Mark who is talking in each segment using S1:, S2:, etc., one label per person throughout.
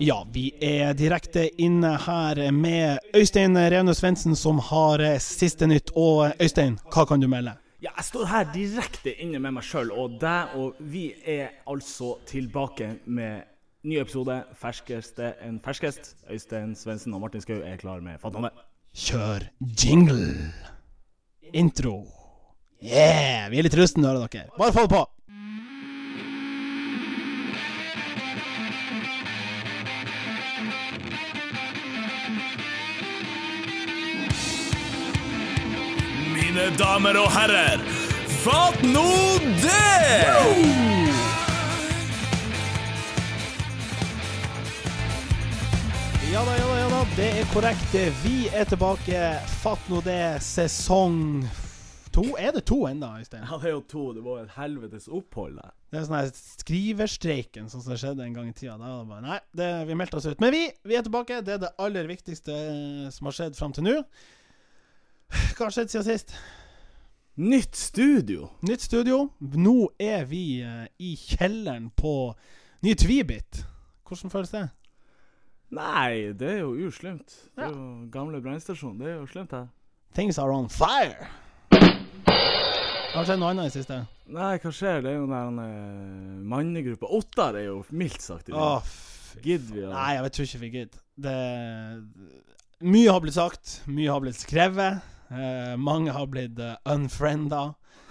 S1: Ja, vi er direkte inne her med Øystein Revne Svendsen, som har eh, siste nytt. Og eh, Øystein, hva kan du melde?
S2: Ja, jeg står her direkte inne med meg sjøl og deg, og vi er altså tilbake med ny episode. Ferskeste enn ferskest. Øystein Svendsen og Martin Skau er klar med Fantomet.
S1: Kjør jingle. Intro. Yeah! Vi er litt rustne, hører dere. Bare få det på!
S3: Mine damer og herrer, fatt nå det!
S1: Ja da, ja da, ja da. Det er korrekt. Vi er tilbake. Fatt nå det, sesong to. Er det to ennå, Øystein?
S2: Ja, det er jo to. Det var et helvetes opphold der.
S1: Det er sånn her skriverstreiken sånn som det skjedde en gang i tida. Da var det bare, nei, det, vi meldte oss ut. Men vi, vi er tilbake. Det er det aller viktigste eh, som har skjedd fram til nå. Hva har skjedd siden sist?
S2: Nytt studio!
S1: Nytt studio. Nå er vi eh, i kjelleren på nye Tvibit. Hvordan føles det?
S2: Nei, det er jo uslemt. Det er jo gamle brannstasjon. Det er jo slemt her.
S1: Things are on fire. Har det skjedd noe annet i det siste?
S2: Nei, hva skjer? Det er jo den der eh, mannegruppa. Ottar er jo mildt sagt i
S1: Å,
S2: dag.
S1: fy
S2: Gidder vi å
S1: Nei, jeg tror ikke vi gidder. Det Mye har blitt sagt, mye har blitt skrevet. eh, mange har blitt uh, unfrienda.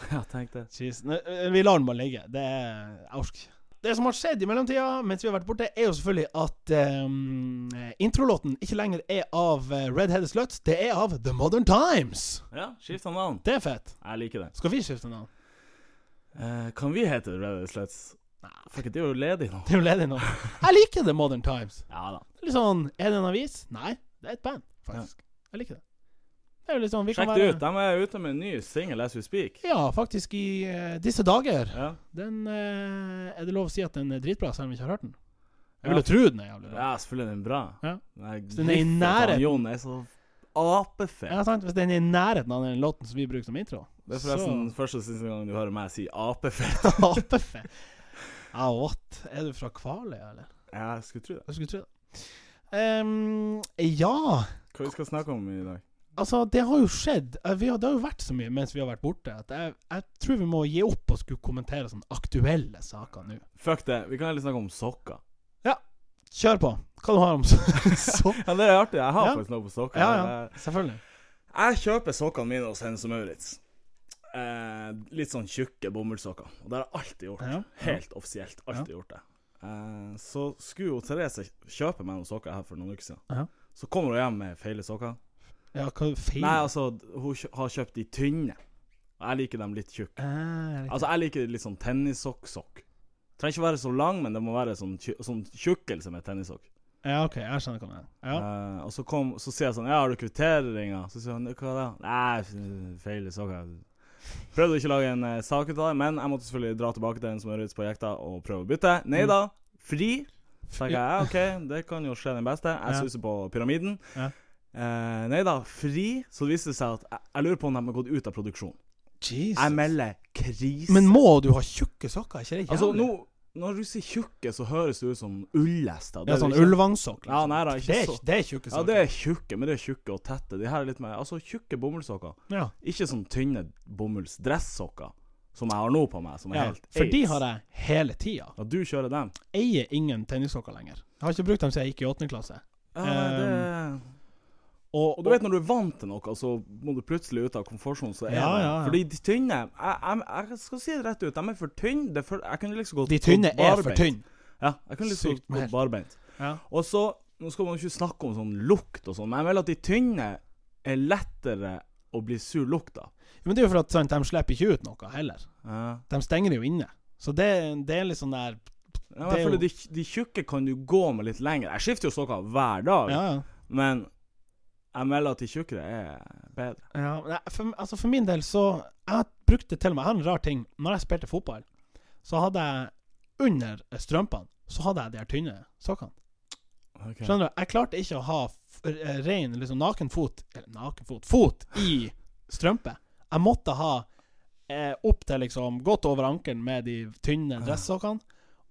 S2: Ja, tenk det.
S1: Jeez. Nei, eh, Vi lar den bare ligge. Det er jeg orker ikke. Det som har skjedd i mellomtida, mens vi har vært borte, er jo selvfølgelig at eh, introlåten ikke lenger er av eh, Redheaded Sluts, det er av The Modern Times.
S2: Ja, skift navn.
S1: Det er fett.
S2: Jeg liker det.
S1: Skal vi skifte navn?
S2: Eh, kan vi hete Reddit Sluts? Nei, fuck it, det er jo ledig nå.
S1: Det er jo ledig nå. Jeg liker The Modern Times.
S2: Ja da.
S1: Litt sånn Er det en avis? Nei, det er et band, faktisk. Jeg liker det. Det er jo litt sånn vi
S2: Sjekk
S1: kan
S2: det
S1: være
S2: ut. De er ute med en ny singel as we speak.
S1: Ja, faktisk i eh, disse dager.
S2: Ja.
S1: Den eh, Er det lov å si at den er dritbra, selv om vi ikke har hørt den? Jeg
S2: Ja.
S1: vil jo tro den er jævlig bra.
S2: ja, selvfølgelig er den bra.
S1: Ja.
S2: Nei,
S1: Så den er i
S2: griffen til han
S1: nærheten.
S2: Jon er så apefet.
S1: Ja, sant? Hvis den er i nærheten av den låten som vi bruker som intro.
S2: Det er forresten første og siste gang du hører meg si apefet.
S1: så Apefe. Ja, what? Er du fra Kvaløya, eller?
S2: Ja, jeg skulle tro det.
S1: Jeg skulle tro det. Ehm, ja
S2: Hva vi skal snakke om i dag?
S1: Altså, det har jo skjedd. Eh, Vi har, det har jo vært så mye mens vi har vært borte, at jeg, jeg tror vi må gi opp å skulle kommentere sånne aktuelle saker nå.
S2: Fuck det, vi kan heller snakke om sokker.
S1: Kjør på. Hva du har om så, så
S2: Ja, det er artig. Jeg har
S1: Ja.
S2: faktisk noe på sokker.
S1: Ja, ja. Selvfølgelig.
S2: Jeg kjøper sokkene mine hos Hennes og Maurits. Eh, litt sånn tjukke bomullssokker. Og det har jeg alltid gjort.
S1: Ja, ja.
S2: Helt offisielt. Alltid gjort det. Eh, så skulle jo Therese kjøpe meg noen sokker her for noen uker siden.
S1: Ja.
S2: Så kommer hun hjem med feile sokker.
S1: Ja, hva feil?
S2: Nei, altså, hun kjø har kjøpt de tynne. Og jeg liker dem litt tjukke.
S1: Eh,
S2: Altså, jeg liker litt sånn tennissokk-sokk. Trenger ikke være så lang, men det må være sånn, tju sånn tjukkelse med tennissokk.
S1: ja, OK. Jeg skjønner hva du mener. Ja.
S2: Eh, og så, kom, så sier jeg sånn Ja, har du kvitteringer? Så sier han hva da? Nei, feil saker. Prøvde ikke å lage en eh, sak ut av det, men jeg måtte selvfølgelig dra tilbake til en som er ute på jekta og prøve å bytte. Nei
S1: Mm.
S2: da, fri. Så tenker jeg ja, OK, det kan jo skje den beste. Jeg
S1: Ja.
S2: suser på pyramiden.
S1: Ja.
S2: Eh, nei da, fri. Så viste det seg at jeg, jeg lurer på om de har gått ut av produksjon.
S1: Jesus.
S2: Jeg melder krise.
S1: Men må du ha tjukke sokker? Er Ikke det jævlig?
S2: altså, nå, når du sier tjukke, så høres det ut som ullester.
S1: Ja, sånn
S2: det ikke.
S1: ulvangsokk.
S2: Ja, nei da, ikke
S1: det, er,
S2: så-
S1: ikke- det er tjukke
S2: Ja,
S1: sokker.
S2: det er tjukke, men det er tjukke og tette. De her er litt mer Altså, tjukke bomullssokker.
S1: Ja.
S2: Ikke sånn tynne bomullsdressokker som jeg har nå på meg, som er
S1: Ja,
S2: helt
S1: for de har jeg hele tida.
S2: Ja, du kjører dem.
S1: Eier ingen tennissokker lenger. Jeg har ikke brukt dem siden jeg gikk i åttende klasse.
S2: Ja, nei, det...
S1: Ehm, Og,
S2: Og du vet når du er vant til noe, så må du plutselig ut av komfortsonen. Så er
S1: Ja,
S2: det-
S1: ja, ja.
S2: Fordi de tynne jeg, jeg, jeg skal si det rett ut, de er for tynne. Det er for, jeg kunne liksom gått
S1: de tynne
S2: gått
S1: er for
S2: barbeint.
S1: tynne.
S2: Ja, jeg kunne liksom
S1: Sykt
S2: gått- gått barbeint.
S1: Ja.
S2: Og så Nå skal man jo ikke snakke om sånn lukt og sånn, men jeg mener at de tynne er lettere å bli sur lukt av.
S1: Men det er jo for at sant, de slipper ikke ut noe heller.
S2: Ja.
S1: De stenger det jo inne. Så det, det er litt sånn der
S2: Ja,
S1: Det
S2: men jeg
S1: er
S2: føler de, de tjukke kan du gå med litt lenger. Jeg skifter jo sokker hver dag,
S1: Ja, ja.
S2: men jeg melder at de tjukkere er bedre.
S1: Ja, men jeg- for, altså for min del så Jeg brukte til og med Jeg har en rar ting. Når jeg spilte fotball, så hadde jeg under strømpene så hadde jeg de her tynne sokkene. Skjønner du? Jeg klarte ikke å ha f eh, ren liksom nakenfot Eller nakenfot Fot i strømpe. Jeg måtte ha eh, opp til liksom godt over ankelen med de tynne dressokkene,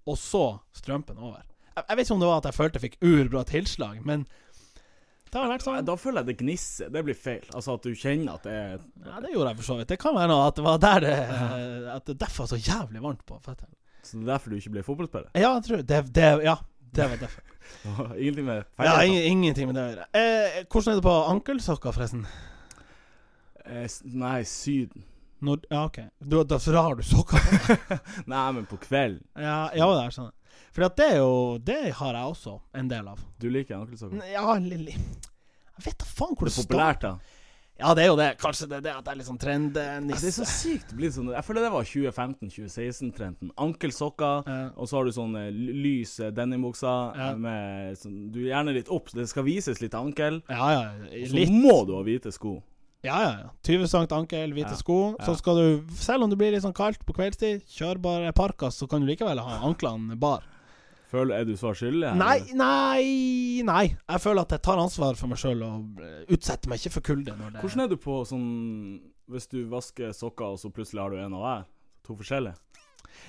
S1: og så strømpen over. Jeg, jeg vet ikke om det var at jeg følte jeg fikk urbra tilslag, men det har vært
S2: Ja,
S1: sånn.
S2: Da føler jeg det gnisser. Det blir feil. Altså at du kjenner at det er
S1: Ja, det gjorde jeg for så vidt. Det kan være noe at det var der det eh, At det derfor var så jævlig varmt på føttene.
S2: Så det er derfor du ikke ble fotballspiller?
S1: Ja, jeg tror det, det Ja, det var derfor.
S2: Ingenting med feil.
S1: Ja, ingen, ingenting med det å gjøre. Eh, hvordan er det på ankelsokker, forresten?
S2: eh, s- nei, Syden.
S1: Når, ja, OK. Du, da, så da har du sokker på?
S2: Nei, men på kvelden.
S1: Ja, ja det er sånn. For at det er jo Det har jeg også en del av.
S2: Du liker ankelsokker.
S1: Ja, Lilly Jeg vet da faen hvor
S2: Det
S1: det
S2: er
S1: står.
S2: populært, da.
S1: Ja, det er jo det. Kanskje det er det at det er litt sånn
S2: Ja, det er
S1: trendnisse.
S2: så sykt å bli sånn Jeg føler det var 2015-2016-trenden. Ankelsokker,
S1: Ja.
S2: og så har du sånne l- lys eh, denimbukser
S1: Ja.
S2: eh, med sånn, Du er gjerne litt opp, så det skal vises litt ankel.
S1: Ja, ja.
S2: Og så
S1: Litt.
S2: må du ha hvite sko.
S1: Ja, ja. ja. 20 sankt ankel, hvite
S2: Ja,
S1: sko.
S2: ja.
S1: Så skal du, selv om det blir litt sånn kaldt på kveldstid, kjør bare parkas, så kan du likevel ha anklene bar.
S2: Føler, er du svar skyldig? her,
S1: Nei,
S2: eller?
S1: nei, nei. Jeg føler at jeg tar ansvar for meg sjøl og eh, utsetter meg ikke for kulde. når det-
S2: Hvordan er du på sånn Hvis du vasker sokker, og så plutselig har du en av hver? To forskjellige?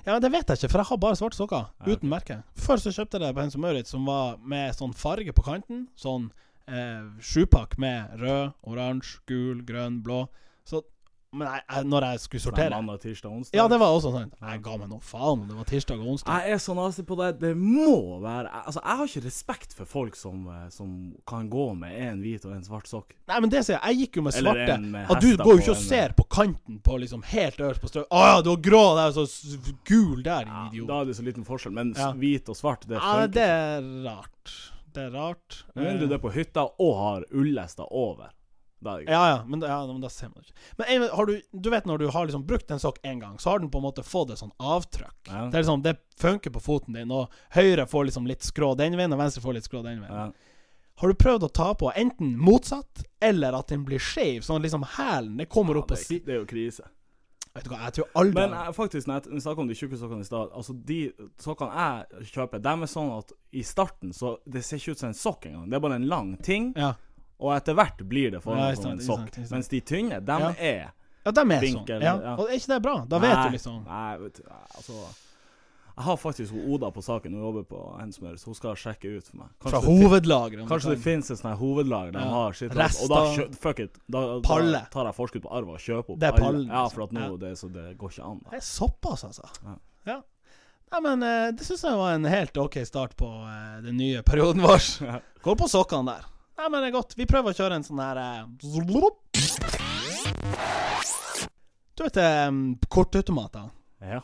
S1: Ja, men Det vet jeg ikke, for jeg har bare svarte sokker.
S2: Ja, ok.
S1: Uten merke. Før så kjøpte jeg det på Hennes og Maurits, som var med sånn farge på kanten. Sånn eh, sjupakk med rød, oransje, gul, grønn, blå. Så Men jeg, jeg, når jeg skulle
S2: Sånn
S1: sortere
S2: Mandag, tirsdag, onsdag?
S1: Ja, det var også sånn. Jeg ga meg nå faen om det var tirsdag og onsdag.
S2: Jeg er så nazi på det. Det må være Altså, jeg har ikke respekt for folk som, eh, som kan gå med en hvit og en svart sokk.
S1: Nei, men det sier jeg. Jeg gikk jo med
S2: Eller
S1: svarte.
S2: en med
S1: Og du
S2: hester
S1: går jo
S2: på
S1: ikke og
S2: en- eh,
S1: ser på kanten på liksom helt øverst på strøket. Å ja, du har grå der, og så s- gul der,
S2: Ja,
S1: din idiot.
S2: da er det så liten forskjell, men s-
S1: Ja.
S2: hvit og svart, det altså.
S1: Ja,
S2: funker
S1: det
S2: ikke.
S1: er rart. Det er rart.
S2: Med mindre du er på hytta og har ullesta over. Da er det
S1: Eh,
S2: greit.
S1: Ja, ja, men, da- ja, men da ser man det ikke. Men Eivind, har du, du vet når du har liksom brukt en sokk én gang, så har den på en måte fått et sånn avtrykk.
S2: Ja.
S1: Det er liksom, det funker på foten din, og høyre får liksom litt skrå den veien, og venstre får litt skrå den veien.
S2: Ja.
S1: Har du prøvd å ta på enten motsatt, eller at den blir skeiv, sånn at liksom hælen det kommer
S2: Ja,
S1: opp på
S2: det, er,
S1: siden?
S2: det er jo krise.
S1: Vet du hva, jeg tror aldri
S2: Men eh, faktisk, når jeg- når vi snakket om de tjukke sokkene i stad Altså, de sokkene jeg kjøper, de er sånn at i starten så Det ser ikke ut som en sokk engang. Det er bare en lang ting,
S1: Ja,
S2: og etter hvert blir det
S1: Ja,
S2: formet som en
S1: sant,
S2: sånn
S1: sant, sant.
S2: sokk. Mens de tynne, de
S1: Ja.
S2: er
S1: ja de er
S2: Vinkel,
S1: sånn. Ja.
S2: ja.
S1: Og er ikke det bra? Da vet
S2: Nei,
S1: du liksom
S2: Nei, vet du, altså Jeg har faktisk hun Oda på saken, hun jobber på Hensmør, så hun skal sjekke ut for meg.
S1: Fra
S2: Kanskje det
S1: hovedlageret. om liksom.
S2: Kanskje
S1: du
S2: det
S1: kan-
S2: finnes et sånt her hovedlag de
S1: Ja.
S2: har sitt
S1: Rest
S2: Og da
S1: av-
S2: kjø, fuck it. Da, da
S1: Palle.
S2: tar jeg forskudd på arv og kjøper opp
S1: Det er
S2: alle.
S1: pallen,
S2: Ja,
S1: liksom.
S2: for at nå
S1: Ja.
S2: det, så det går ikke an. Da.
S1: Det er såpass, altså.
S2: Ja.
S1: Ja. Nei, men eh, det syns jeg var en helt OK start på eh, den nye perioden vår. Gå på sokkene der. Nei, men det er godt. Vi prøver å kjøre en sånn her eh, Du vet eh, kortautomater?
S2: Ja.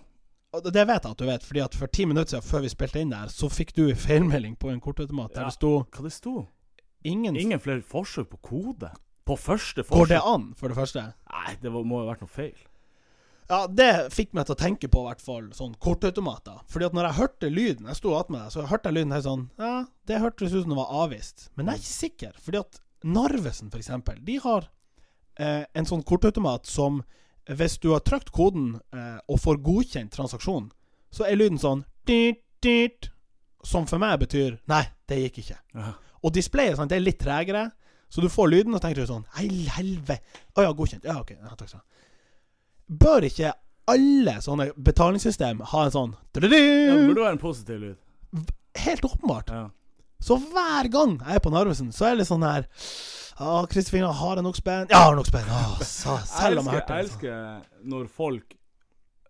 S1: Og Det vet jeg at du vet, fordi at for ti minutter siden, før vi spilte inn der, så fikk du en feilmelding på en kortautomat der
S2: Ja.
S1: det sto
S2: Hva det sto?
S1: ingen,
S2: Ingen flere forsøk på kode? På første
S1: Går det
S2: forsøk?
S1: an, for det første?
S2: Nei, det var, må jo ha vært noe feil.
S1: Ja, det fikk meg til å tenke på i hvert fall sånn kortautomater. Fordi at når jeg hørte lyden, jeg sto attmed deg, så hørte jeg lyden her sånn Ja, det hørtes ut som den var avvist. Men jeg er ikke sikker, fordi at Narvesen, for eksempel, de har eh, en sånn kortautomat som hvis du har trykt koden eh, og får godkjent transaksjonen, så er lyden sånn dyrt, dyrt, Som for meg betyr Nei, det gikk ikke.
S2: Ja.
S1: Og displayet sant, det er litt tregere, så du får lyden, og så tenker du sånn Hei, helvete. Å ja, godkjent. Ja, OK. Ja, takk skal du ha. Bør ikke alle sånne betalingssystem ha en sånn
S2: Ja, det
S1: «Tudu-du»?
S2: burde være en positiv lyd.
S1: Helt åpenbart.
S2: Ja.
S1: Så hver gang jeg er på Narvesen, så er det litt sånn her Å, Kristoffer, har jeg nok spenn? Ja, jeg har nok spenn. Å, sa, selv om jeg hørte
S2: elsker, jeg
S1: det. sånn.
S2: elsker når folk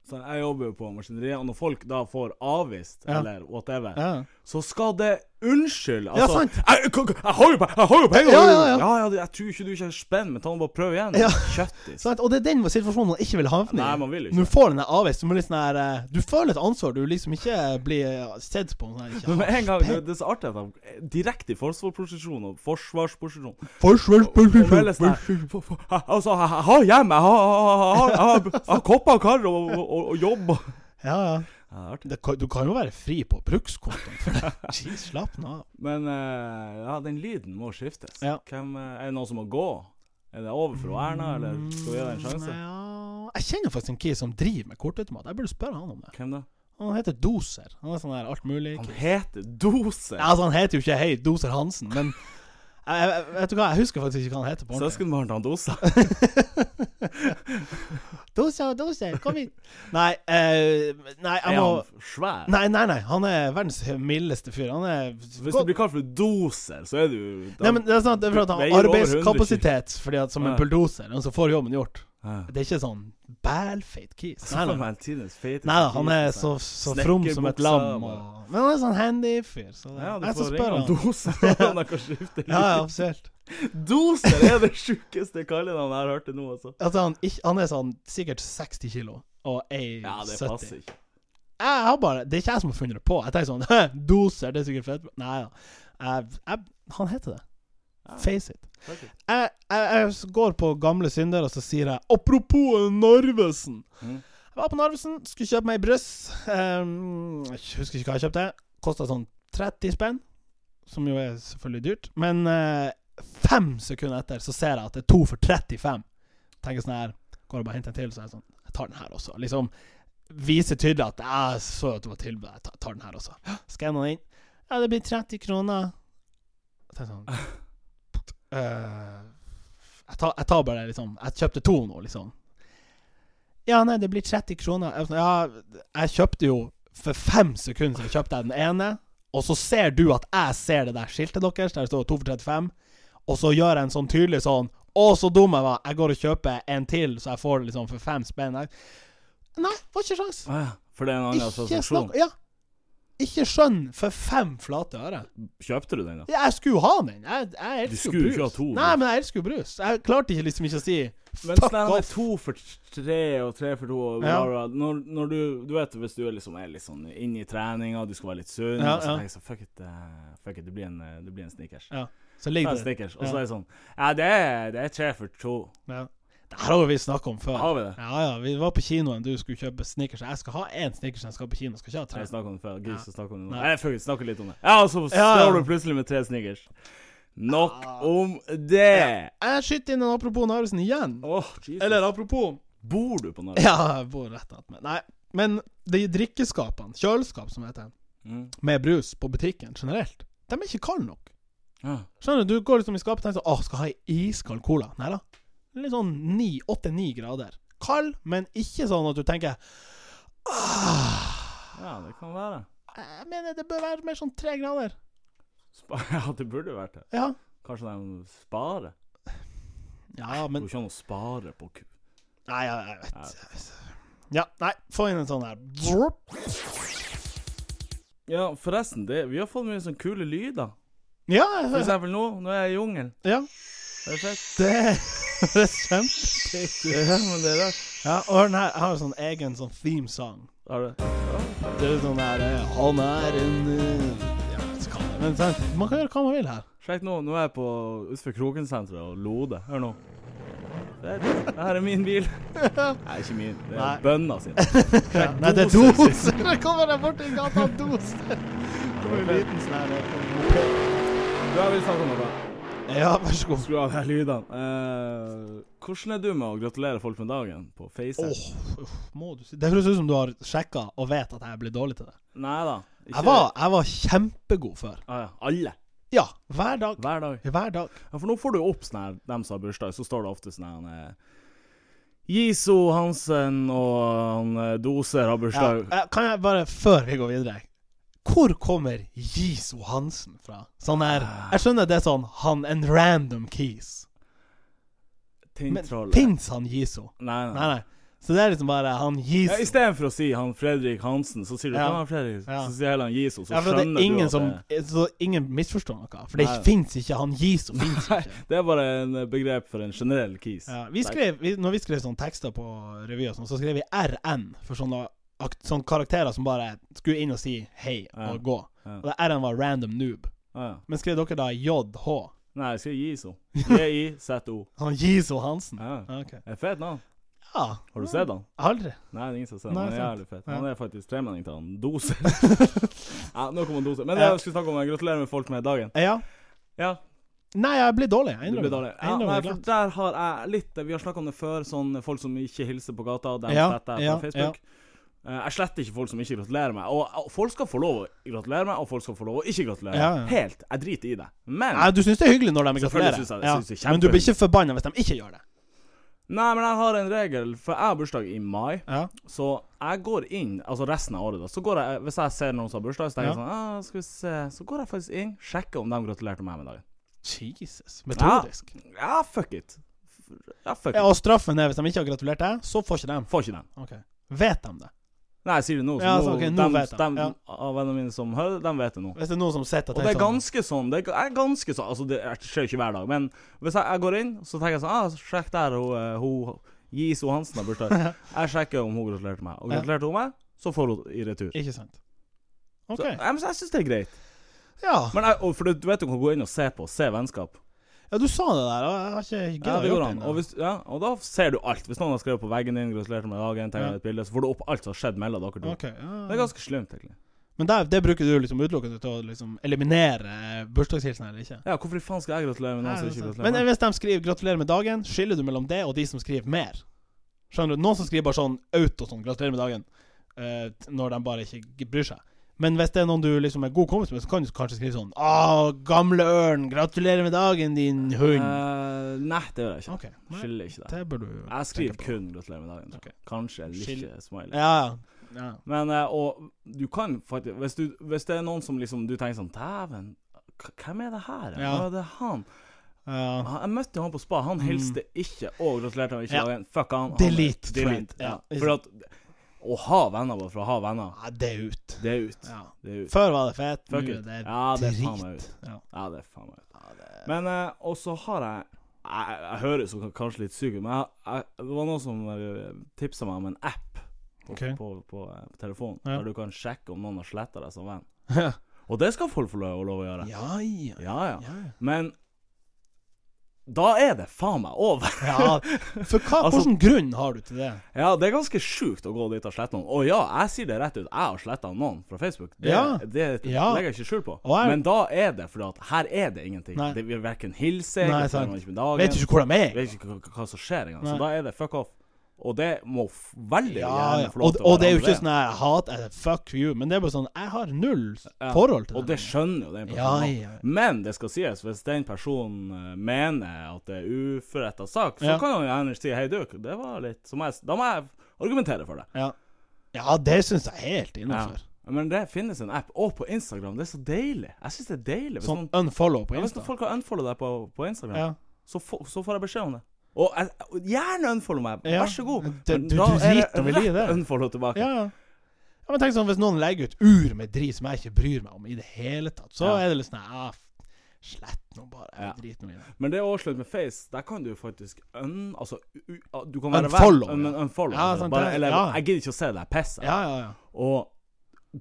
S2: så Jeg jobber jo på maskineriet, og når folk da får avvist,
S1: Ja.
S2: eller whatever,
S1: Ja.
S2: så skal det unnskylde.
S1: Ja,
S2: Altså,
S1: sant.
S2: Jeg, k- k- jeg har jo pe- jeg har jo penger!
S1: Ja, ja, ja.
S2: Jeg tror ikke du ikke er spent, men ta nå bare prøv igjen.
S1: Ja.
S2: Kjøttis.
S1: Sant? Og det er den situasjonen man ikke vil havne i.
S2: Nei, man vil ikke.
S1: Når du får den der avvist, så må du litt sånn her eh, Du føler et ansvar. Du liksom ikke blir eh, sett på. Sånn, her, ikke
S2: Men med
S1: har
S2: en gang, det,
S1: spenn.
S2: det er så artig at de er direkte i forsvarsposisjon og forsvarsposisjon Og melder sånn
S1: Forsvarsposisjon.
S2: her, «F- f- Altså, jeg jeg har hjem, jeg har, jeg har, jeg har, jeg har, jeg har kopper og karr og, og, og, og jobb.
S1: Ja, ja.
S2: Ja, det er artig.
S1: Det, kan- du kan jo være fri på brukskontoen for det. Jeez, slapp nå av.
S2: Men eh, ja, den lyden må skiftes.
S1: Ja.
S2: Hvem, eh, er det noen som må gå? Er det over for Erna, eller skal vi gi deg en
S1: Mm,
S2: sjanse?
S1: Ja, jeg kjenner faktisk en kis som driver med kortautomat. Jeg burde spørre han om det.
S2: Hvem da?
S1: Han heter Doser. Han er sånn der alt mulig.
S2: Han heter Dose.
S1: Ja, altså, han heter jo ikke Hei Doser Hansen, men jeg, jeg, vet du hva, jeg husker faktisk ikke hva han heter på ordentlig.
S2: Søskenbarn til han Dosa.
S1: dose og dose, kom hit. Nei, eh, nei, jeg
S2: Er
S1: må
S2: han svær?
S1: Nei, nei, nei. Han er verdens mildeste fyr. Han er
S2: Hvis du blir kalt for doser, så er du jo
S1: Nei, men det er sånn at det er for at han
S2: Veier
S1: har
S2: over
S1: arbeidskapasitet fordi at som en
S2: Ja.
S1: bulldoser, og så får jobben gjort.
S2: Ja.
S1: Det er ikke sånn bælfeit kis. Nei,
S2: Nei,
S1: nei.
S2: nei.
S1: Nei da, han er så, så
S2: altså.
S1: from som et
S2: Snekkerbuksa,
S1: lam. Og...
S2: bare.
S1: Men han er sånn handy fyr. Så det...
S2: Ja, du
S1: jeg
S2: får
S1: som spør
S2: ringe han
S1: han.
S2: Doser. Han har kanskje skiftet
S1: Ja, ja, absolutt.
S2: Doser er det sjukeste kallenavnet jeg har hørt til nå, altså.
S1: Altså, han, ikk- han er sånn sikkert 60 kilo og ei
S2: Ja, det
S1: 70.
S2: passer ikke.
S1: Jeg har bare Det er ikke jeg som har funnet det på. Jeg tenker sånn «Hø, Doser, det er sikkert fett. Nei da. Jeg, jeg, han heter det.
S2: Ja.
S1: Face it.
S2: Takk.
S1: jeg, jeg, jeg s- går på gamle synder, og så sier jeg Apropos Narvesen.
S2: Mm.
S1: Jeg var på Narvesen, skulle kjøpe meg bryst. Um, jeg husker ikke hva jeg kjøpte. Kosta sånn 30 spenn, som jo er selvfølgelig dyrt. Men eh, fem sekunder etter så ser jeg at det er to for 35. Tenker sånn her Går og bare henter en til, så er jeg sånn Jeg tar den her også. Liksom viser tydelig at jeg så at det var tilbud, jeg tar, tar den her også. Skanner den inn. Ja, det blir 30 kroner. Jeg tenker sånn Eh, jeg, tar, jeg tar bare liksom Jeg kjøpte to nå, liksom. Ja, nei, det blir 30 kroner. Jeg, var sånn, ja, jeg kjøpte jo For fem sekunder siden kjøpte jeg den ene, og så ser du at jeg ser det der skiltet deres, der det står 2 for 35, og så gjør jeg en sånn tydelig sånn Å, så dum jeg var. Jeg går og kjøper en til, så jeg får det liksom for fem spenn. Jeg- Nei, får ikke sjans.
S2: Ah, ja. For det er en annen
S1: Ikke
S2: assosiasjon.
S1: snakk Ja. Ikke skjønn for fem flate øre.
S2: Kjøpte du den, da?
S1: Ja, Jeg skulle jo ha den. Jeg, jeg elsker
S2: Du skulle
S1: jo brus.
S2: ikke ha to, du.
S1: Nei, men jeg elsker jo brus. Jeg klarte ikke liksom ikke å si fuck
S2: Men sånn med
S1: off.
S2: to for tre og tre for to og bla,
S1: Ja.
S2: bla. Når, når du Du vet hvis du er liksom er litt sånn inne i treninga, du skal være litt sunn,
S1: Ja,
S2: og så
S1: ja.
S2: tenker jeg sånn Fuck it, eh, fuck it det, blir en, eh, det blir en snickers.
S1: Ja, så
S2: Det er
S1: ligger
S2: en
S1: det
S2: snickers.
S1: Ja.
S2: Og så er det sånn Ja, det er, det er tre for to.
S1: ja. Det her har jo vi snakka om før.
S2: Har vi det?
S1: Ja, ja, Vi var på kinoen, du skulle kjøpe snickers. Jeg skal ha én snickers når jeg skal på kino. Jeg skal ikke ha
S2: Nei,
S1: tre.
S2: Jeg snakket om det før. Gud,
S1: Ja.
S2: så snakker om det nå.
S1: Nei.
S2: Nei, fuck it, snakker litt om det. Ja, og så
S1: Ja, ja.
S2: står du plutselig med tre snickers. Nok
S1: Ah.
S2: om det.
S1: Jeg skyter inn en apropos Narvesen igjen.
S2: Åh, Jesus.
S1: Eller apropos
S2: Bor du på Narvik?
S1: Ja, jeg bor rett attmed. Nei, men de drikkeskapene, kjøleskap som heter,
S2: Mm.
S1: med brus på butikken generelt, de er ikke kalde nok.
S2: Ja.
S1: Skjønner du, du går liksom i skapet og tenker sånn Åh, skal ha ei iskald cola. Nei da. Litt sånn 8-9 grader. Kald, men ikke sånn at du tenker Åh,
S2: ja, det kan være.
S1: Jeg mener det bør være mer sånn 3 grader.
S2: Spa ja, det burde vært det.
S1: Ja.
S2: Kanskje de sparer?
S1: Ja,
S2: Men,
S1: men
S2: det går ikke an å spare på ku...
S1: Nei, jeg, jeg vet Ja, nei, få inn en sånn her.
S2: Ja, forresten, det, vi har fått mye sånne kule lyder.
S1: Ja,
S2: For eksempel nå, nå er jeg i jungelen.
S1: ja.
S2: Det er fett.
S1: Det, det er kjempetøft.
S2: Ja, men det er rart.
S1: Ja, og hør den her. Jeg har en sånn egen sånn theme song.
S2: Har du?
S1: Det er sånn her eh, Han er en eh, Ja, jeg vet ikke hva det er. Men sant, man kan gjøre hva man vil her.
S2: Sjekk nå, nå er jeg på utenfor Krokensenteret og loder. Hør nå. Det, det her er min bil. Nei, ikke min. Det
S1: Nei.
S2: er bønna sin. Det
S1: Nei, det er
S2: doser.
S1: doser! Det kommer der borti gata og doser!
S2: var
S1: En
S2: fett.
S1: liten sånn her, eh,
S2: Du, jeg vil snakke om noe.
S1: Ja, vær så god.
S2: Skru av de her lydene. Eh, hvordan er du med å gratulere folk med dagen på FaceTime?
S1: Åh, uff, må du si Det høres ut som du har sjekka og vet at jeg blir dårlig til det.
S2: Nei da.
S1: Jeg var, jeg var kjempegod før.
S2: ah, ja. Alle.
S1: Ja, hver dag.
S2: Hver dag.
S1: Hver dag.
S2: Ja, for nå får du jo opp sånn her, dem som har bursdag, så står det ofte sånn her han, eh, Jiso Hansen og han eh, Doser har
S1: Ja,
S2: bursdag.
S1: eh, kan jeg bare, før vi går videre Hvor kommer Jiso Hansen fra? Sånn her
S2: Ah.
S1: Jeg skjønner det er sånn Han en random keys. Men
S2: Tinntroll.
S1: fins han Jiso?
S2: Nei, nei.
S1: Nei, nei. Så det er liksom bare han
S2: Ja, I
S1: Jiso.
S2: stedet for å si han Fredrik Hansen, så sier du
S1: Ja.
S2: «Hvem er Fredrik?
S1: Ja.
S2: Så sier heller han Jiso, så
S1: Ja, for det
S2: skjønner
S1: er ingen
S2: du
S1: som
S2: at det,
S1: Så ingen misforstår noe. For det
S2: Nei.
S1: fins ikke. Han Jiso fins ikke.
S2: det er bare en eh, begrep for en generell kis.
S1: Ja, vi skrev, vi, når vi skrev sånne tekster på revy, og sånn, så skrev vi RN for sånne, akt, sånne karakterer som bare skulle inn og si hei og
S2: Ja.
S1: gå.
S2: Ja.
S1: Og det R-en var random noob.
S2: Ah, ja.
S1: Men skrev dere da JH?
S2: Nei, jeg sier Jiso. J-I-Z-O.
S1: Han Jiso Hansen?
S2: Ja.
S1: Ja. ok.
S2: Det er Fett navn.
S1: ja.
S2: Har du sett han?
S1: Aldri.
S2: Nei, det er ingen som ser den.
S1: Nei,
S2: Han er
S1: sant.
S2: jævlig fett.
S1: Ja.
S2: Han er faktisk tremenning til han Doser. ja, nå kommer han Doser. Men
S1: Ja.
S2: jeg skulle snakke om eh, gratulerer med folk med dagen.
S1: Ja.
S2: Ja,
S1: Nei, jeg blir dårlig. Jeg
S2: du blir
S1: innrømmer
S2: dårlig.
S1: det. Jeg
S2: Ja, nei,
S1: innrømmer det
S2: for
S1: glatt.
S2: der har jeg litt Vi har snakka om det før, sånn folk som ikke hilser på gata, dem
S1: Ja,
S2: sletter jeg
S1: ja,
S2: på Facebook. Eh, Jeg sletter ikke folk som ikke gratulerer meg. Og, og folk skal få lov å gratulere meg, og folk skal få lov å ikke gratulere.
S1: Ja, ja.
S2: Helt. Jeg driter i det. Men
S1: Nei, du syns det er hyggelig når de
S2: Selvfølgelig
S1: gratulerer,
S2: synes jeg det. Jeg
S1: ja.
S2: synes det er
S1: men du blir ikke forbanna hvis de ikke gjør det.
S2: Nei, men jeg har en regel, for jeg har bursdag i mai.
S1: Ja.
S2: Så jeg går inn, altså resten av året, da. Så går jeg, Hvis jeg ser noen som har bursdag, så tenker jeg
S1: Ja.
S2: sånn ah, skal vi se. Så går jeg faktisk inn, sjekker om de gratulerte meg med dagen.
S1: Jesus. Metodisk.
S2: Ja, fuck it. Ja, fuck
S1: Ja,
S2: it.
S1: og straffen er hvis de ikke har gratulert deg, så får ikke de.
S2: Får ikke den.
S1: Ok. Vet de det?
S2: Nei, jeg sier det nå, så
S1: Ja,
S2: nå,
S1: så ok, nå
S2: dem,
S1: vet jeg.
S2: dem
S1: Ja.
S2: av vennene mine som hører, de vet det nå.
S1: Hvis det er noen som sitter
S2: Og det er ganske sånn. Det er ganske sånn Altså, det er- skjer ikke hver dag, men hvis jeg, jeg går inn, så tenker jeg sånn ah, Sjekk der, hun, eh, hun Gis hun Hansen har bursdag. Jeg sjekker om hun gratulerte meg. Og
S1: Ja.
S2: gratulerte hun meg, så får hun i retur.
S1: Ikke sant.
S2: Så,
S1: OK.
S2: jeg, jeg syns det er greit.
S1: Ja.
S2: Men jeg, og for du, du vet du kan gå inn og se på. Se vennskap.
S1: ja, du sa det der, og jeg har ikke giddet
S2: Ja,
S1: å
S2: det
S1: gjøre
S2: går an.
S1: ennå.
S2: Og, hvis, ja, og da ser du alt. Hvis noen har skrevet på veggen din 'Gratulerer med dagen', tegner
S1: Ja.
S2: et bilde, så får du opp alt som har skjedd mellom dere to.
S1: Ok, ja.
S2: Det er ganske slemt, egentlig.
S1: Men der, det bruker du liksom utelukkende til å liksom eliminere eh, bursdagshilsen eller ikke?
S2: Ja, hvorfor i faen skal jeg gratulere med noen som
S1: Nei, det
S2: ikke
S1: er sant. Men
S2: gratulerer? meg?
S1: hvis de skriver 'gratulerer med dagen', skiller du mellom det og de som skriver mer? Skjønner du? Noen som skriver bare sånn auto sånn 'gratulerer med dagen' eh, t- når de bare ikke g- bryr seg. Men hvis det er noen du liksom er god kompis med, så kan du kanskje skrive sånn 'Å, gamle ørn, gratulerer med dagen, din hund'.
S2: Eh, nei, det gjør jeg ikke.
S1: Ok, nei,
S2: Skylder ikke det.
S1: det bør du
S2: Jeg skriver
S1: tenke på.
S2: kun 'gratulerer med dagen'. tror jeg. Kanskje en
S1: Skill-
S2: lykke-smiley.
S1: Ja, ja. ja.
S2: Men eh, og du kan faktisk hvis, du, hvis det er noen som liksom du tenker sånn 'Dæven, k- hvem er det her?' Ja.
S1: Ja.
S2: det er han.
S1: ja.
S2: han. Jeg møtte jo han på spa. Han hilste ikke og gratulerte med ikke
S1: Mm. Ja.
S2: dagen. Fuck han. han
S1: Delete
S2: er- delete.
S1: friend.
S2: Ja.
S1: Ja, ikke
S2: For at å ha venner bare for å ha venner,
S1: Nei, det er ut.
S2: det er ut.
S1: Ja.
S2: Det er ut.
S1: Før var det fett, nå
S2: Fuck
S1: er
S2: it.
S1: det
S2: Ja, det er faen meg
S1: drit.
S2: ut.
S1: Ja.
S2: Ja, det er faen meg ut. Men eh, og så har jeg jeg, jeg høres jo kanskje litt syk ut, men jeg, jeg, det var noen som tipsa meg om en app på,
S1: Ok.
S2: på, på, eh, på telefonen,
S1: Ja.
S2: der du kan sjekke om noen har sletta deg som venn.
S1: Ja,
S2: Og det skal folk få lov, lov å gjøre. Ja.
S1: ja. ja.
S2: ja,
S1: ja.
S2: Men da er det faen meg over.
S1: Ja, for hva,
S2: Altså-
S1: hvilken grunn har du til det?
S2: Ja, det er ganske sjukt å gå dit og slette noen. Og ja, jeg sier det rett ut, jeg har sletta noen fra Facebook. Det,
S1: Ja.
S2: det
S1: Ja.
S2: legger jeg ikke skjul på.
S1: Og jeg-
S2: Men da er det fordi at her er det ingenting.
S1: Nei.
S2: Det vil verken hilse,
S1: Nei,
S2: gratulerer
S1: sant.
S2: man ikke med dagen.
S1: Vet du ikke hvor de er?
S2: vet ikke hva, hva som skjer engang.
S1: Nei.
S2: Så da er det fuck off. Og det må f- veldig
S1: Ja,
S2: gjerne
S1: ja.
S2: få lov
S1: Og,
S2: til å
S1: og det er jo
S2: andre
S1: ikke
S2: veien.
S1: sånn her hat, eh, fuck you, men det er bare sånn Jeg har null s-
S2: Ja.
S1: forhold til
S2: Og det skjønner jo den
S1: Ja,
S2: personen. også.
S1: ja.
S2: Men det skal sies, hvis den personen eh, mener at det er uforretta sak, så
S1: Ja.
S2: kan han gjerne si hei, du, det var litt som jeg s- Da må jeg argumentere for det.
S1: Ja, ja det syns jeg er helt
S2: Ja.
S1: innafor.
S2: Men det finnes en app, og på Instagram. Det er så deilig. Jeg syns det er deilig. Hvis,
S1: Sånn
S2: noen,
S1: unfollow på
S2: ja, hvis
S1: Insta.
S2: folk har unfollowa deg på, på Instagram,
S1: Ja.
S2: så, få- så får jeg beskjed om det. Og jeg, og gjerne unfollow meg,
S1: Ja.
S2: vær så god.
S1: Det-
S2: Men
S1: du-
S2: da
S1: du
S2: er det
S1: driter vel i
S2: rett
S1: det.
S2: Unfollow tilbake.
S1: ja, ja. Ja, men tenk sånn, Hvis noen legger ut ur med drit som jeg ikke bryr meg om i det hele tatt, så
S2: Ja.
S1: er det litt sånn her, ah, Slett nå bare.
S2: Ja.
S1: Jeg driter nå i det.
S2: Men det er også slutt med face. Der kan du faktisk un... Altså, u, u- du kan være
S1: Unfollow,
S2: venn, men
S1: ja.
S2: unfollow.
S1: Ja,
S2: altså,
S1: sant,
S2: bare,
S1: det-
S2: eller,
S1: ja.
S2: Jeg gidder ikke å se deg pisse.
S1: Ja, ja, ja.
S2: Og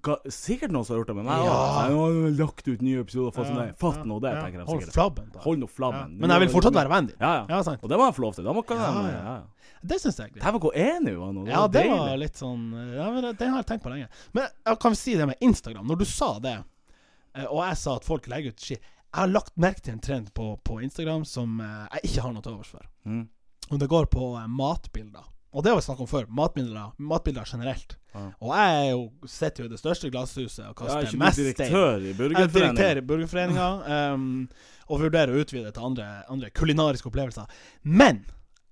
S2: ga, sikkert noen som har gjort det med meg.
S1: Ja.
S2: også. Jeg har jo lagt ut nye episoder, fått sånn
S1: Ja,
S2: der. Fatt
S1: ja,
S2: nå det,
S1: ja.
S2: tenker jeg
S1: Hold
S2: sikkert.
S1: flabben, da.
S2: Hold nå
S1: ja.
S2: flabben.
S1: Men jeg vil fortsatt være vennen din.
S2: Ja, ja.
S1: Ja, sant.
S2: Og det må jeg få lov til. Da må kan
S1: Ja,
S2: jeg
S1: ja.
S2: ja, ja.
S1: Det syns jeg er greit.
S2: Dæven, hvor enige vi var nå.
S1: Ja, det var
S2: deilig.
S1: litt sånn ja, men det- Den har jeg tenkt på lenge. Men jeg kan vi si det med Instagram? Når du sa det, eh, og jeg sa at folk legger ut shit Jeg har lagt merke til en trend på, på Instagram som eh, jeg ikke har noe til overs for.
S2: Mm.
S1: Og det går på eh, matbilder. Og det har vi snakket om før. Matbilder, matbilder generelt.
S2: Ja.
S1: Og jeg er jo, sitter jo i det største glasshuset og
S2: Ja,
S1: kaster
S2: ikke
S1: mest
S2: du
S1: stein.
S2: direktør i
S1: Jeg er direktør
S2: Burgerforeningen?
S1: i Burgerforeninga ehm, og vurderer å utvide til andre, andre kulinariske opplevelser. Men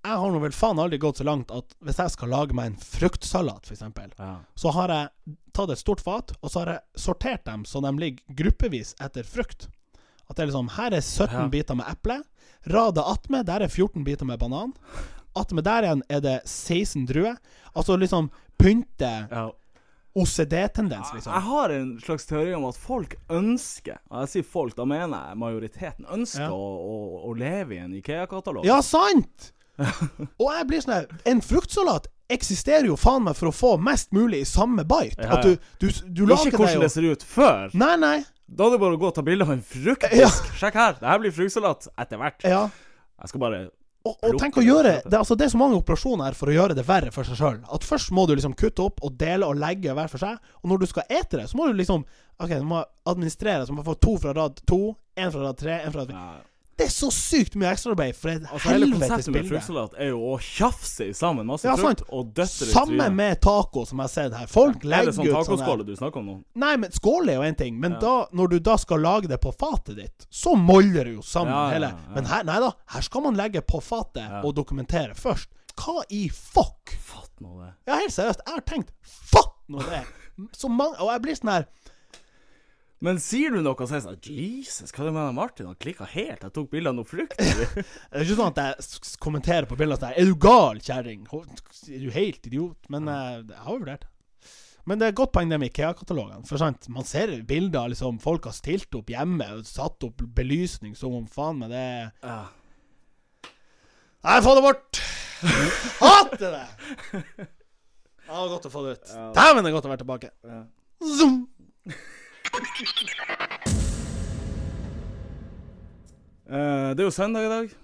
S1: jeg har nå vel faen aldri gått så langt at hvis jeg skal lage meg en fruktsalat, f.eks.,
S2: Ja.
S1: så har jeg tatt et stort fat, og så har jeg sortert dem så de ligger gruppevis etter frukt. At det er liksom Her er 17
S2: Ja.
S1: biter med eple. Radet attmed, der er 14 biter med banan. Attmed der igjen er det 16 druer. Altså liksom pynte
S2: Ja.
S1: OCD-tendens, liksom.
S2: Jeg har en slags teori om at folk ønsker Og jeg sier folk, da mener jeg majoriteten ønsker
S1: Ja.
S2: å, å, å leve i en Ikea-katalog.
S1: Ja, sant! Og jeg blir sånn her En fruktsalat eksisterer jo faen meg for å få mest mulig i samme bite.
S2: Ja, ja.
S1: At du, du, du lager
S2: Ikke hvordan
S1: deg
S2: det
S1: jo
S2: ser ut før.
S1: Nei, nei.
S2: Da er det bare å gå og ta bilde av en fruktdisk.
S1: Ja.
S2: Sjekk her, det her blir fruktsalat etter hvert.
S1: Ja.
S2: Jeg skal bare
S1: Og, og tenk å gjøre det, altså det er så mange operasjoner her for å gjøre det verre for seg sjøl. At først må du liksom kutte opp og dele og legge hver for seg. Og når du skal ete det, så må du liksom Ok, du må administrere. Så du må få to fra rad to, én fra rad tre, én fra rad fire.
S2: ja.
S1: Det er så sykt mye ekstraarbeid for et
S2: Altså Hele
S1: helvetes
S2: konseptet med
S1: bilde.
S2: fruktsalat er jo å tjafse i sammen masse
S1: Ja,
S2: frukt
S1: sant.
S2: og døtter i
S1: Samme
S2: trynet.
S1: med taco, som jeg har sett her. Folk
S2: Er det
S1: legger
S2: sånn
S1: ut sånne her-
S2: tacoskåle du snakker om nå?
S1: Nei, men skål er jo én ting, men
S2: Ja.
S1: da, når du da skal lage det på fatet ditt, så molder du jo sammen
S2: Ja, ja,
S1: hele
S2: ja.
S1: Men her, nei da, her skal man legge på fatet
S2: Ja.
S1: og dokumentere først. hva i fuck?
S2: Fatt nå det.
S1: Ja, helt seriøst, jeg har tenkt fatt nå det! Så mange, og jeg blir sånn her
S2: Men sier du noe, så er jeg sånn Jesus, hva er det med han Martin? Han klikka helt. Jeg tok bilde av noe fryktelig.
S1: Det er ikke sånn at jeg s- s- kommenterer på bildene sånn her, Er du gal, kjerring? Ho- Er du helt idiot? Men eh, jeg har jo vurdert. Men det er et godt poeng det med Ikea-katalogen. For sant, Man ser bilder av liksom, folk har stilt opp hjemme og satt opp belysning som om faen meg det er-
S2: Ja.
S1: Nei, få det bort! Hater det! Ja, det var godt å få det ut. Dæven, det er godt å være tilbake.
S2: Ja.
S1: Zoom!
S2: Eh, det er jo søndag i dag.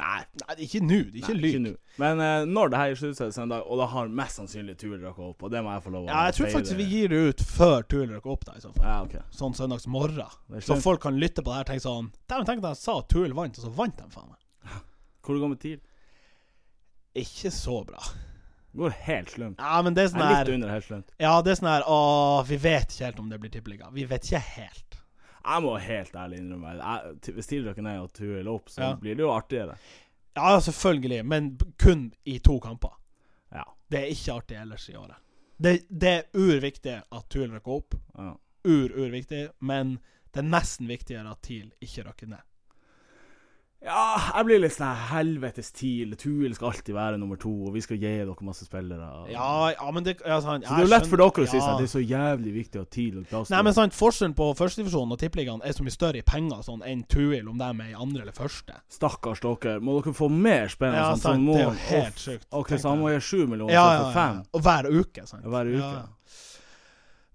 S1: Nei, nei, det er ikke nå. Det er ikke
S2: Nei,
S1: lyg.
S2: nå. Men eh, når det her gis ut, så er det søndag, og det har mest sannsynlig turen dere opp, og det må jeg få lov å
S1: Ja, jeg tror
S2: feire.
S1: faktisk vi gir det ut før turen dere opp, da, i så fall.
S2: Ja, ok.
S1: Sånn søndags morgen.
S2: Det er
S1: Så
S2: slutt.
S1: folk kan lytte på det her og tenke sånn Dæven, tenk at jeg sa at Tuel vant, og så vant de, faen meg.
S2: Hvor det går med TIL?
S1: Ikke så bra.
S2: Går helt slumt.
S1: Ja, men det er
S2: Jeg
S1: sånn
S2: er
S1: her
S2: litt under helt slumt.
S1: Ja, det er sånn her Å, vi vet ikke helt om det blir tippeliga. Vi vet ikke helt.
S2: Jeg må helt ærlig innrømme jeg, t- Hvis TIL dere ned og turen opp, så
S1: Ja.
S2: blir det jo artigere.
S1: Ja, selvfølgelig, men b- kun i to kamper.
S2: Ja.
S1: Det er ikke artig ellers i året. Det, det er urviktig at Tuel rykker opp.
S2: ja.
S1: Ur, urviktig. Men det er nesten viktigere at TIL ikke rykker ned.
S2: Ja, jeg blir litt sånn helvetes TIL. TIL skal alltid være nummer to, og vi skal gi dere masse spillere. og-
S1: Ja, ja, men det ja, sånn,
S2: Så det er jo lett for dere å si
S1: ja.
S2: sånn, det er så jævlig viktig at TIL og Glass
S1: Nei, men sant, Forskjellen på førstedivisjonen og tippeligaen er så mye større i penger sånn, enn Tuil, om de er i andre eller første.
S2: Stakkars dere, må dere få mer spenn?
S1: Ja,
S2: sånn,
S1: sant,
S2: sånn, må,
S1: det er jo helt
S2: Uff.
S1: sjukt.
S2: Ok,
S1: Tenk
S2: så han må gi sju millioner
S1: Ja, ja,
S2: for fem
S1: ja. Og hver uke, sant.
S2: hver uke.
S1: Ja.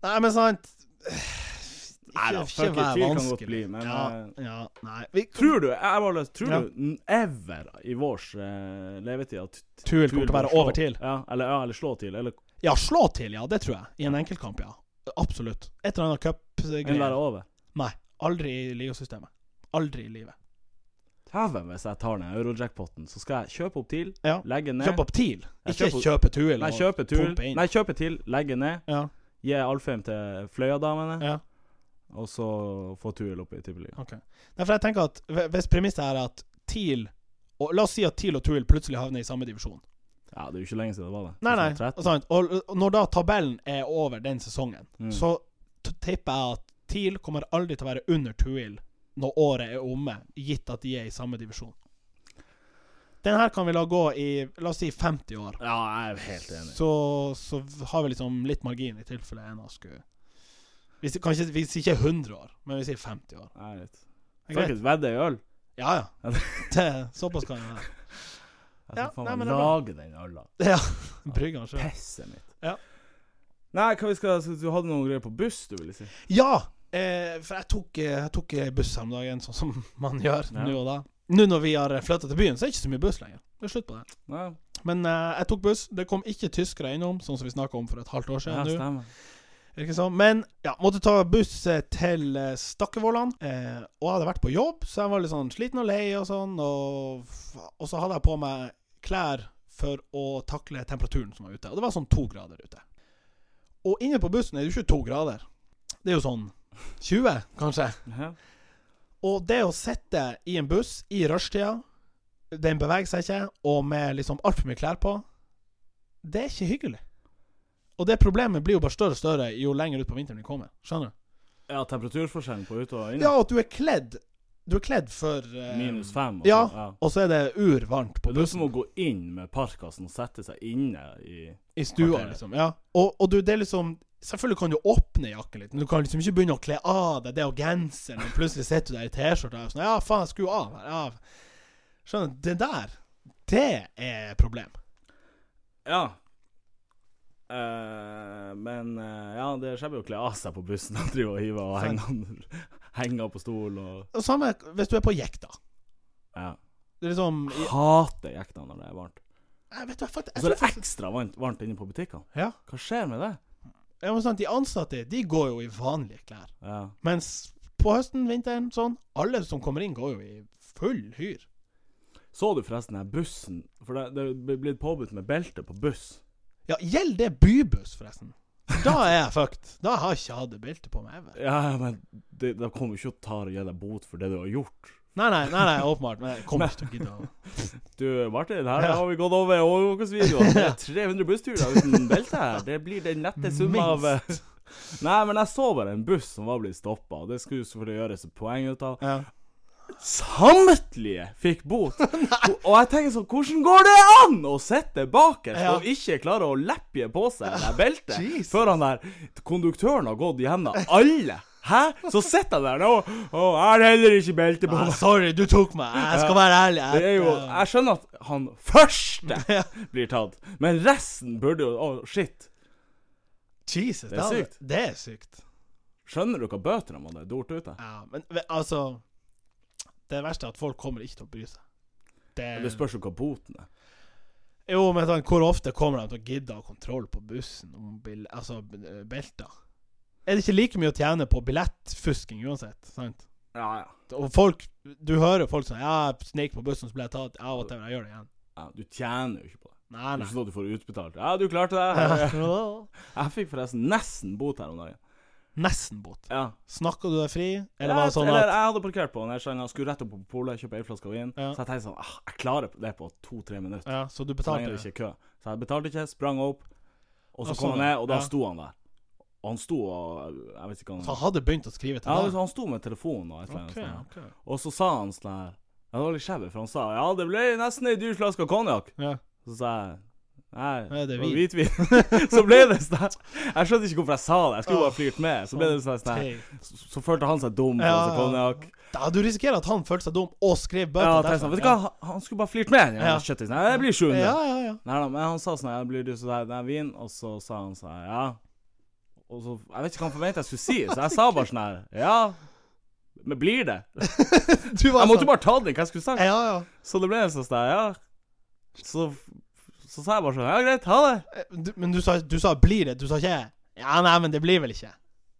S1: Nei, men sant
S2: Nei da, fuck it, tvil kan godt bli, men, eh,
S1: ja, ja, nei. Vi,
S2: Tror du, jeg var løs, tror
S1: Ja.
S2: du n- ever i vårs eh, levetid at t-
S1: Tuil kommer til å
S2: Tuil
S1: være
S2: slå-
S1: over TIL.
S2: Ja, eller, ja, eller slå til, eller
S1: Ja, slå til, ja. Det tror jeg. I en enkeltkamp, ja. Absolutt. Et eller annet
S2: en være
S1: cupgreier.
S2: over.
S1: Nei. Aldri i ligasystemet. Aldri i livet.
S2: Dæven, hvis jeg tar ned eurojackpoten, så skal jeg kjøpe opp TIL,
S1: Ja.
S2: legge ned
S1: Kjøp opp TIL.
S2: Ja,
S1: Ikke
S2: kjøp opp-
S1: kjøpe Tuil
S2: Nei,
S1: og
S2: kjøpe TIL,
S1: pumpe inn.
S2: nei, kjøpe TIL, legge ned,
S1: Ja,
S2: gi Alfheim til Fløya-damene,
S1: ja.
S2: og så få Tuil opp i tippeligaen.
S1: Ok. Nei, for jeg tenker at hve- Hvis premisset er at TIL og La oss si at TIL og Tuil plutselig havner i samme divisjon.
S2: Ja, det er jo ikke lenge siden det var det.
S1: Nei, nei.
S2: Det er sånn 13.
S1: Sant. Og, og når da tabellen er over den sesongen,
S2: Mm.
S1: så t- tipper jeg at TIL kommer aldri til å være under Tuil når året er omme, gitt at de er i samme divisjon. Den her kan vi la gå i la oss si 50 år.
S2: Ja, jeg er helt enig.
S1: Så, så har vi liksom litt margin i tilfelle en av oss skulle hvis, det- Kanskje hvis ikke 100 år, men vi sier 50 år.
S2: Jeg vet.
S1: Det er greit.
S2: Faktisk, vedde i øl.
S1: Ja, ja. Det, såpass kan det være.
S2: Jeg
S1: Ja,
S2: skal faen
S1: nei, men
S2: meg
S1: det er bra.
S2: lage den øla.
S1: Ja. Brygger han sjøl.
S2: Pisset mitt.
S1: Ja.
S2: Nei, hva vi skal så Du hadde noen greier på buss, du ville si?
S1: Ja! Eh, for jeg tok, eh, jeg tok eh, buss her om dagen, sånn som man gjør
S2: Ja.
S1: nå og da. Nå når vi har flytta til byen, så er det ikke så mye buss lenger. Det er slutt på det.
S2: Nei,
S1: Men eh, jeg tok buss. Det kom ikke tyskere innom, sånn som vi snakka om for et halvt år
S2: ja,
S1: siden. nå.
S2: stemmer.
S1: Virker det som. Men ja, måtte ta buss eh, til eh, Stakkevollan. Eh, og jeg hadde vært på jobb, så jeg var litt sånn sliten og lei og sånn. Og, f- og så hadde jeg på meg klær for å takle temperaturen som var ute. Og det var sånn to grader ute. Og inne på bussen er det jo ikke to grader. Det er jo sånn 20, kanskje.
S2: Ja.
S1: Og det å sitte i en buss i rushtida, den beveger seg ikke, og med liksom altfor mye klær på, det er ikke hyggelig. Og det problemet blir jo bare større og større jo lenger ut på vinteren vi kommer. Skjønner du?
S2: ja, temperaturforskjellen på ute og inne.
S1: Ja, at du er kledd Du er kledd for eh,
S2: Minus fem. og
S1: Ja,
S2: så- ja.
S1: og så er det urvarmt på
S2: Det er
S1: bussen.
S2: som å gå inn med parkasen og sette seg inne i
S1: I stua,
S2: Kvarteret.
S1: liksom. Ja. Og, og du, det er liksom Selvfølgelig kan du åpne jakken litt, men du kan liksom ikke begynne å kle av deg det og genseren, og plutselig sitter du der i T-skjorta og sånn Ja, faen, jeg skulle av her. Ja. Skjønner du? Det der, det er et problem.
S2: Ja. Eh, men eh, ja, det skjer jo å kle av seg på bussen og drive og hive og
S1: Sant.
S2: henge, henge på stol og
S1: Og Samme hvis du er på jekk, da.
S2: ja.
S1: Det er liksom
S2: Jeg hater jekta når det er varmt.
S1: Jeg vet du, jeg faktisk
S2: Og
S1: jeg
S2: så er
S1: tror
S2: Altså, det
S1: faktisk-
S2: ekstra varmt, varmt inne på butikkene.
S1: Ja.
S2: Hva skjer med det?
S1: ja, men sant, De ansatte de går jo i vanlige klær.
S2: Ja.
S1: Mens på høsten, vinteren, sånn Alle som kommer inn, går jo i full hyr.
S2: Så du forresten den bussen? For det, det er blitt påbudt med belte på buss.
S1: Ja, gjelder det bybuss, forresten? Da er jeg fucked. Da har jeg ikke hatt det beltet på meg. ever.
S2: Ja, men de, de kommer jo ikke til å ta og gi deg bot for det du har gjort.
S1: Nei, nei, nei, nei åpenbart. Men jeg kommer ikke til å gidde å
S2: Du, Martin, her har vi gått over overvåkingsvideoen. Det er 300 bussturer uten belte her. Det blir den nette summen av eh, Nei, men jeg så bare en buss som var blitt stoppa, og det skulle jo selvfølgelig gjøres et poeng ut av.
S1: ja.
S2: Samtlige fikk bot. og jeg tenker sånn, hvordan går det an å sitte bakerst
S1: Ja.
S2: og ikke klare å leppje på seg det der beltet
S1: Jesus.
S2: før han der konduktøren har gått gjennom alle? Hæ? Så sitter jeg der nå, og jeg har heller ikke belte på
S1: Nei,
S2: meg.
S1: Sorry, du tok meg. Jeg skal være ærlig. Jeg, eh,
S2: Det er jo, jeg skjønner at han første blir tatt, men resten burde jo Å, shit.
S1: Jesus,
S2: Det er
S1: hadde-
S2: sykt.
S1: Det er sykt.
S2: Skjønner du hva bøtene man er dort ute?
S1: Ja, men men, altså Det verste er at folk kommer ikke til å bry seg. Det-
S2: Det spørs jo hva boten er.
S1: Jo, men sånn, hvor ofte kommer de til å gidde å ha kontroll på bussen om bil, altså, b- belter? Er det ikke like mye å tjene på billettfusking uansett? sant?
S2: Ja, ja.
S1: Og folk, Du hører folk sånn Ja, jeg snek på bussen, så ble jeg tatt. Ja, whatever, jeg gjør det igjen.
S2: ja du tjener jo ikke på det.
S1: Nei,
S2: Det er
S1: nei.
S2: ikke sånn at du får utbetalt. Ja, du klarte det. Jeg fikk forresten nesten bot her om dagen.
S1: Nesten bot.
S2: Ja.
S1: Snakka du deg fri, eller
S2: Ja,
S1: var det sånn
S2: eller,
S1: at
S2: Jeg hadde parkert på Nesjøen, jeg skulle rett opp på polet, kjøpe ei flaske vin.
S1: Ja.
S2: Så jeg tenkte sånn ah, Jeg klarer det på to-tre minutter.
S1: Ja, så du
S2: Så
S1: betalte?
S2: lenge det ikke er kø. Så jeg betalte ikke, sprang opp, og så
S1: Og
S2: kom
S1: sånn,
S2: han ned, og da
S1: ja.
S2: sto han der. Og han sto og Jeg vet ikke hva
S1: Så
S2: han
S1: han hadde begynt å skrive til
S2: Ja,
S1: deg?
S2: altså, han sto med telefonen og et eller annet.
S1: Ok,
S2: sånt.
S1: ok.
S2: Og så sa han sånn her ja, Det var litt skjevt, for han sa ja, det ble nesten ei dyr flaske konjakk.
S1: Ja.
S2: Så sa jeg nei,
S1: Nei, det er
S2: var hvitvin. så ble det sånn her. Jeg skjønte ikke hvorfor jeg sa det, jeg skulle bare flirte med. Så ble det sånn her.
S1: Teit.
S2: Så, så følte han seg dum,
S1: Ja,
S2: flaske konjakk.
S1: Da, du risikerer at han følte seg dum og skrev bøter.
S2: Ja, tenkte sånn, vet du hva, han- han skulle bare flirte med den
S1: Ja.
S2: jævla kjøttisen. Nei, det blir 700.
S1: Ja, ja, ja.
S2: Nei da, men han sa sånn her, blir du så der, det er vin, og så sa han sånn her, ja. Og så, jeg vet ikke hva han forventet jeg skulle si, så jeg sa bare sånn her, ja. Men blir det?
S1: Du var
S2: Jeg måtte
S1: sånn-
S2: jo bare ta den, hva jeg skulle sagt.
S1: Ja, ja.
S2: Så det ble en sånn sted, ja. Så, så sa jeg bare sånn, ja greit, ha det.
S1: Eh, Du, men du sa, du sa 'blir det', du sa ikke 'ja, nei, men det blir vel ikke'.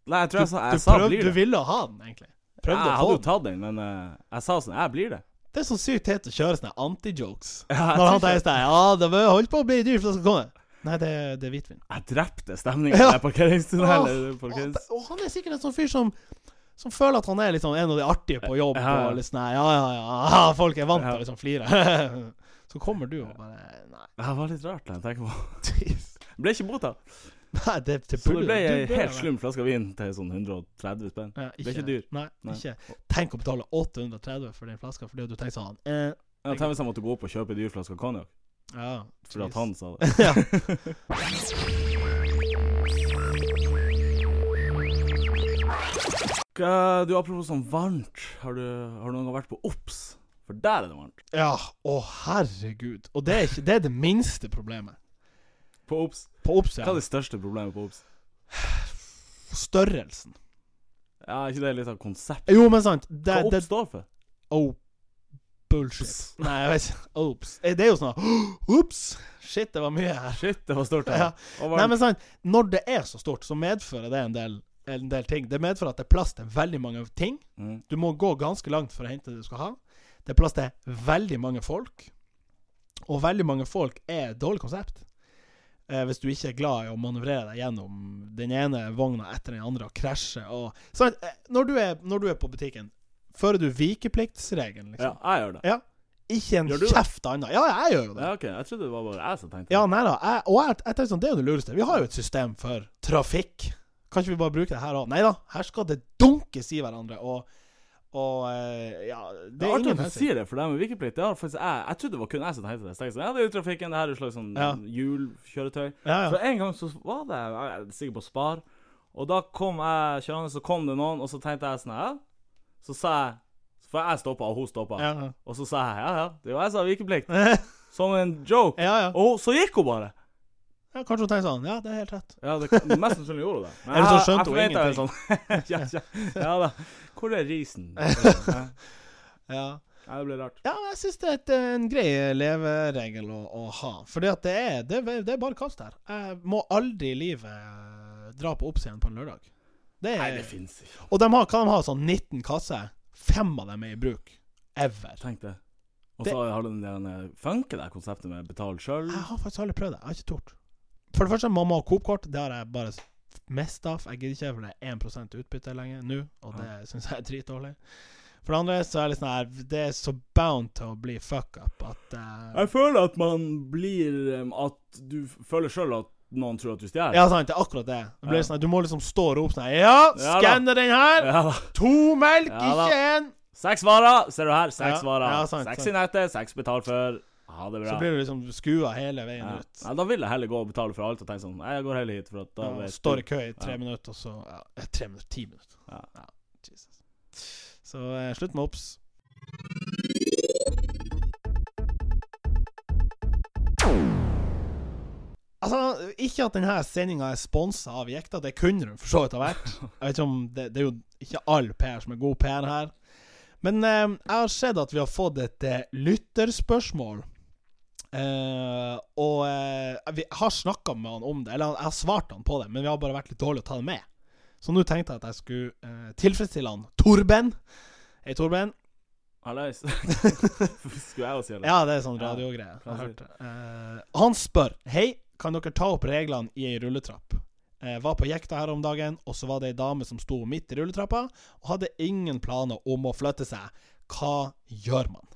S2: Nei, jeg
S1: Du,
S2: tror jeg sa,
S1: du
S2: jeg sa
S1: prøv-
S2: blir
S1: du
S2: det.
S1: ville ha den, egentlig. Prøvde
S2: jeg
S1: å
S2: hadde
S1: få
S2: jo
S1: den.
S2: tatt den, men eh, jeg sa sånn, jeg blir det.
S1: Det er så sykt teit å kjøre sånne antijokes.
S2: jeg
S1: Når han
S2: tror
S1: sier
S2: ikke-
S1: sånn 'ja, det var- holdt på å bli dyrt, for det skal komme'. Nei, det, det er hvitvin.
S2: Jeg drepte stemningen
S1: Ja.
S2: i parkeringstunnelen.
S1: Åh, Og,
S2: parkerings...
S1: og han er sikkert en sånn fyr som som føler at han er liksom en av de artige på jobb.
S2: Ja, ja.
S1: Og liksom, ja, ja, ja, ja, folk er vant til
S2: Ja.
S1: å liksom flire. Så kommer du og bare Nei.
S2: Det var litt rart, jeg tenker på. Ble ikke bota.
S1: Nei, det, det
S2: Så
S1: burde
S2: det ble
S1: du- du
S2: en
S1: burde
S2: helt
S1: være-
S2: slum flaske vin til sånn 130 spenn.
S1: Ja,
S2: Det er ikke dyr.
S1: Nei,
S2: Nei.
S1: ikke. Tenk å betale 830 for den flaska fordi at du tenker sånn eh,
S2: Jeg tenkte hvis jeg måtte gå opp og kjøpe en dyr flaske konjakk,
S1: Ja.
S2: fordi
S1: jeez.
S2: at han sa det.
S1: ja.
S2: Eh, Du, apropos sånn varmt, har du, har du noen gang vært på OBS? For der er det varmt.
S1: ja. Å, herregud. Og det er, ikke, det er det minste problemet.
S2: På OBS.
S1: På Obs,
S2: Hva
S1: ja.
S2: er det største problemet på OBS?
S1: Størrelsen.
S2: Ja, er ikke det litt av konsept?
S1: Jo, men sant.
S2: Hva
S1: Det, det
S2: OBS står for?
S1: Oh, bullshit. Nei, jeg vet ikke. Ops. Eh, Det er jo sånn Ops! Shit, det var mye her.
S2: Shit, det var stort.
S1: Ja.
S2: Ja. Og varmt.
S1: Nei, men sant. Når det er så stort, så medfører det en del, en del ting. Det medfører at det er plass til veldig mange ting.
S2: Mm.
S1: Du må gå ganske langt for å hente det du skal ha. Det er plass til veldig mange folk. Og veldig mange folk er et dårlig konsept. Eh, hvis du ikke er glad i å manøvrere deg gjennom den ene vogna etter den andre og krasje og sant? Eh, Når, du er, når du er på butikken, fører du vikepliktsregelen,
S2: ja,
S1: liksom?
S2: jeg gjør det.
S1: Ikke en
S2: Gjør du det?
S1: kjeft anna. Ja, jeg gjør jo det.
S2: Ja, ok, Jeg trodde det var bare jeg som tenkte
S1: Ja,
S2: det.
S1: nei da. Jeg, og jeg, jeg tenker sånn, det er jo det lureste. Vi har jo et system for trafikk. Kan ikke vi bare bruke det her òg? Nei da, her skal det dunkes i hverandre, og Og eh, ja
S2: Det er artig at du
S1: hensikt.
S2: sier det, for det med vikeplikt det har faktisk jeg Jeg trodde det var kun jeg som tenkte det. Så tenkte jeg sånn, ja, det er jo trafikken, det her er et slags sånn
S1: Ja.
S2: hjulkjøretøy.
S1: Ja,
S2: Så
S1: ja.
S2: en gang så var det Jeg er sikker på Spar. Og da kom jeg kjørende, så kom det noen, og så tenkte jeg sånn ja. Så sa jeg For jeg stoppa, og hun stoppa.
S1: Ja, ja.
S2: Og så sa jeg ja, ja, det er jo jeg som har vikeplikt. Som en joke.
S1: ja, ja.
S2: Og hun- så gikk hun bare.
S1: ja. Kanskje hun tenker sånn Ja, det er helt rett.
S2: Ja, det, mest sannsynlig gjorde hun det. Men
S1: Eller så
S2: jeg-
S1: skjønte
S2: jeg
S1: hun
S2: forventet
S1: ingenting.
S2: jo Sånn. ja, ja, ja da. Hvor er risen?
S1: Ja,
S2: Ja, det ble rart.
S1: ja jeg syns det er et, eh, en grei leveregel å, å ha. Fordi at det er det, er- det er bare kast her. Jeg må aldri i livet eh, dra på Obs igjen på en lørdag. Det er,
S2: Nei, det fins ikke.
S1: og de har, kan de ha sånn 19 kasser. Fem av dem er i bruk. Ever.
S2: Tenk det. Og
S1: Det- Ah.
S2: så har du den der funke der konseptet med betal sjøl.
S1: Jeg har faktisk aldri prøvd det. Jeg har ikke tort. For det første, mamma og Coop-kort, det har jeg bare mista. Jeg gidder ikke, for det er 1 utbytte lenger nå, og det syns jeg er dritdårlig. For det andre så er det litt sånn her Det er så bound til å bli fuck up at eh,
S2: Jeg føler at man blir um, At du f- føler sjøl at noen tror at du stjeler.
S1: Ja, sant. Det er akkurat det. det blir
S2: Ja.
S1: sånn, at du må liksom stå og rope sånn her, Ja,
S2: Ja da.
S1: skanne den her!
S2: Ja da.
S1: To melk,
S2: Ja da.
S1: ikke én!
S2: Seks varer, ser du her. Seks
S1: Ja,
S2: varer.
S1: ja, sant,
S2: seks
S1: sant.
S2: i nettet, seks betalt for. Ha det bra.
S1: Så blir du liksom skua hele veien
S2: ja.
S1: ut.
S2: Ja, da vil jeg heller gå og betale for alt og tenke sånn Nei, jeg går heller hit, for at da
S1: Ja,
S2: vet
S1: står
S2: du-
S1: i kø i tre
S2: Ja.
S1: minutter, og så ja, eh, Tre minutter, ti minutter.
S2: Ja.
S1: Jesus. Så eh, slutt med obs. Altså, ikke at denne sendinga er sponsa av Jekta, det kunne hun for så vidt ha vært. Jeg vet ikke om det, det er jo ikke all PR som er god PR her. Men eh, jeg har sett at vi har fått et eh, lytterspørsmål. Eh, og eh, vi har snakka med han om det, eller han- jeg har svart han på det, men vi har bare vært litt dårlige å ta det med. Så nå tenkte jeg at jeg skulle eh, tilfredsstille han. Torben. Hei, Torben.
S2: Hallais. Skulle jeg også gjøre det?
S1: Ja, det er sånn
S2: Ja,
S1: radiogreie. Jeg har
S2: klassisk.
S1: hørt det. Eh, han spør Hei, kan dere ta opp reglene i ei rulletrapp? Jeg var på jekta her om dagen, og så var det ei dame som sto midt i rulletrappa og hadde ingen planer om å flytte seg. Hva gjør man?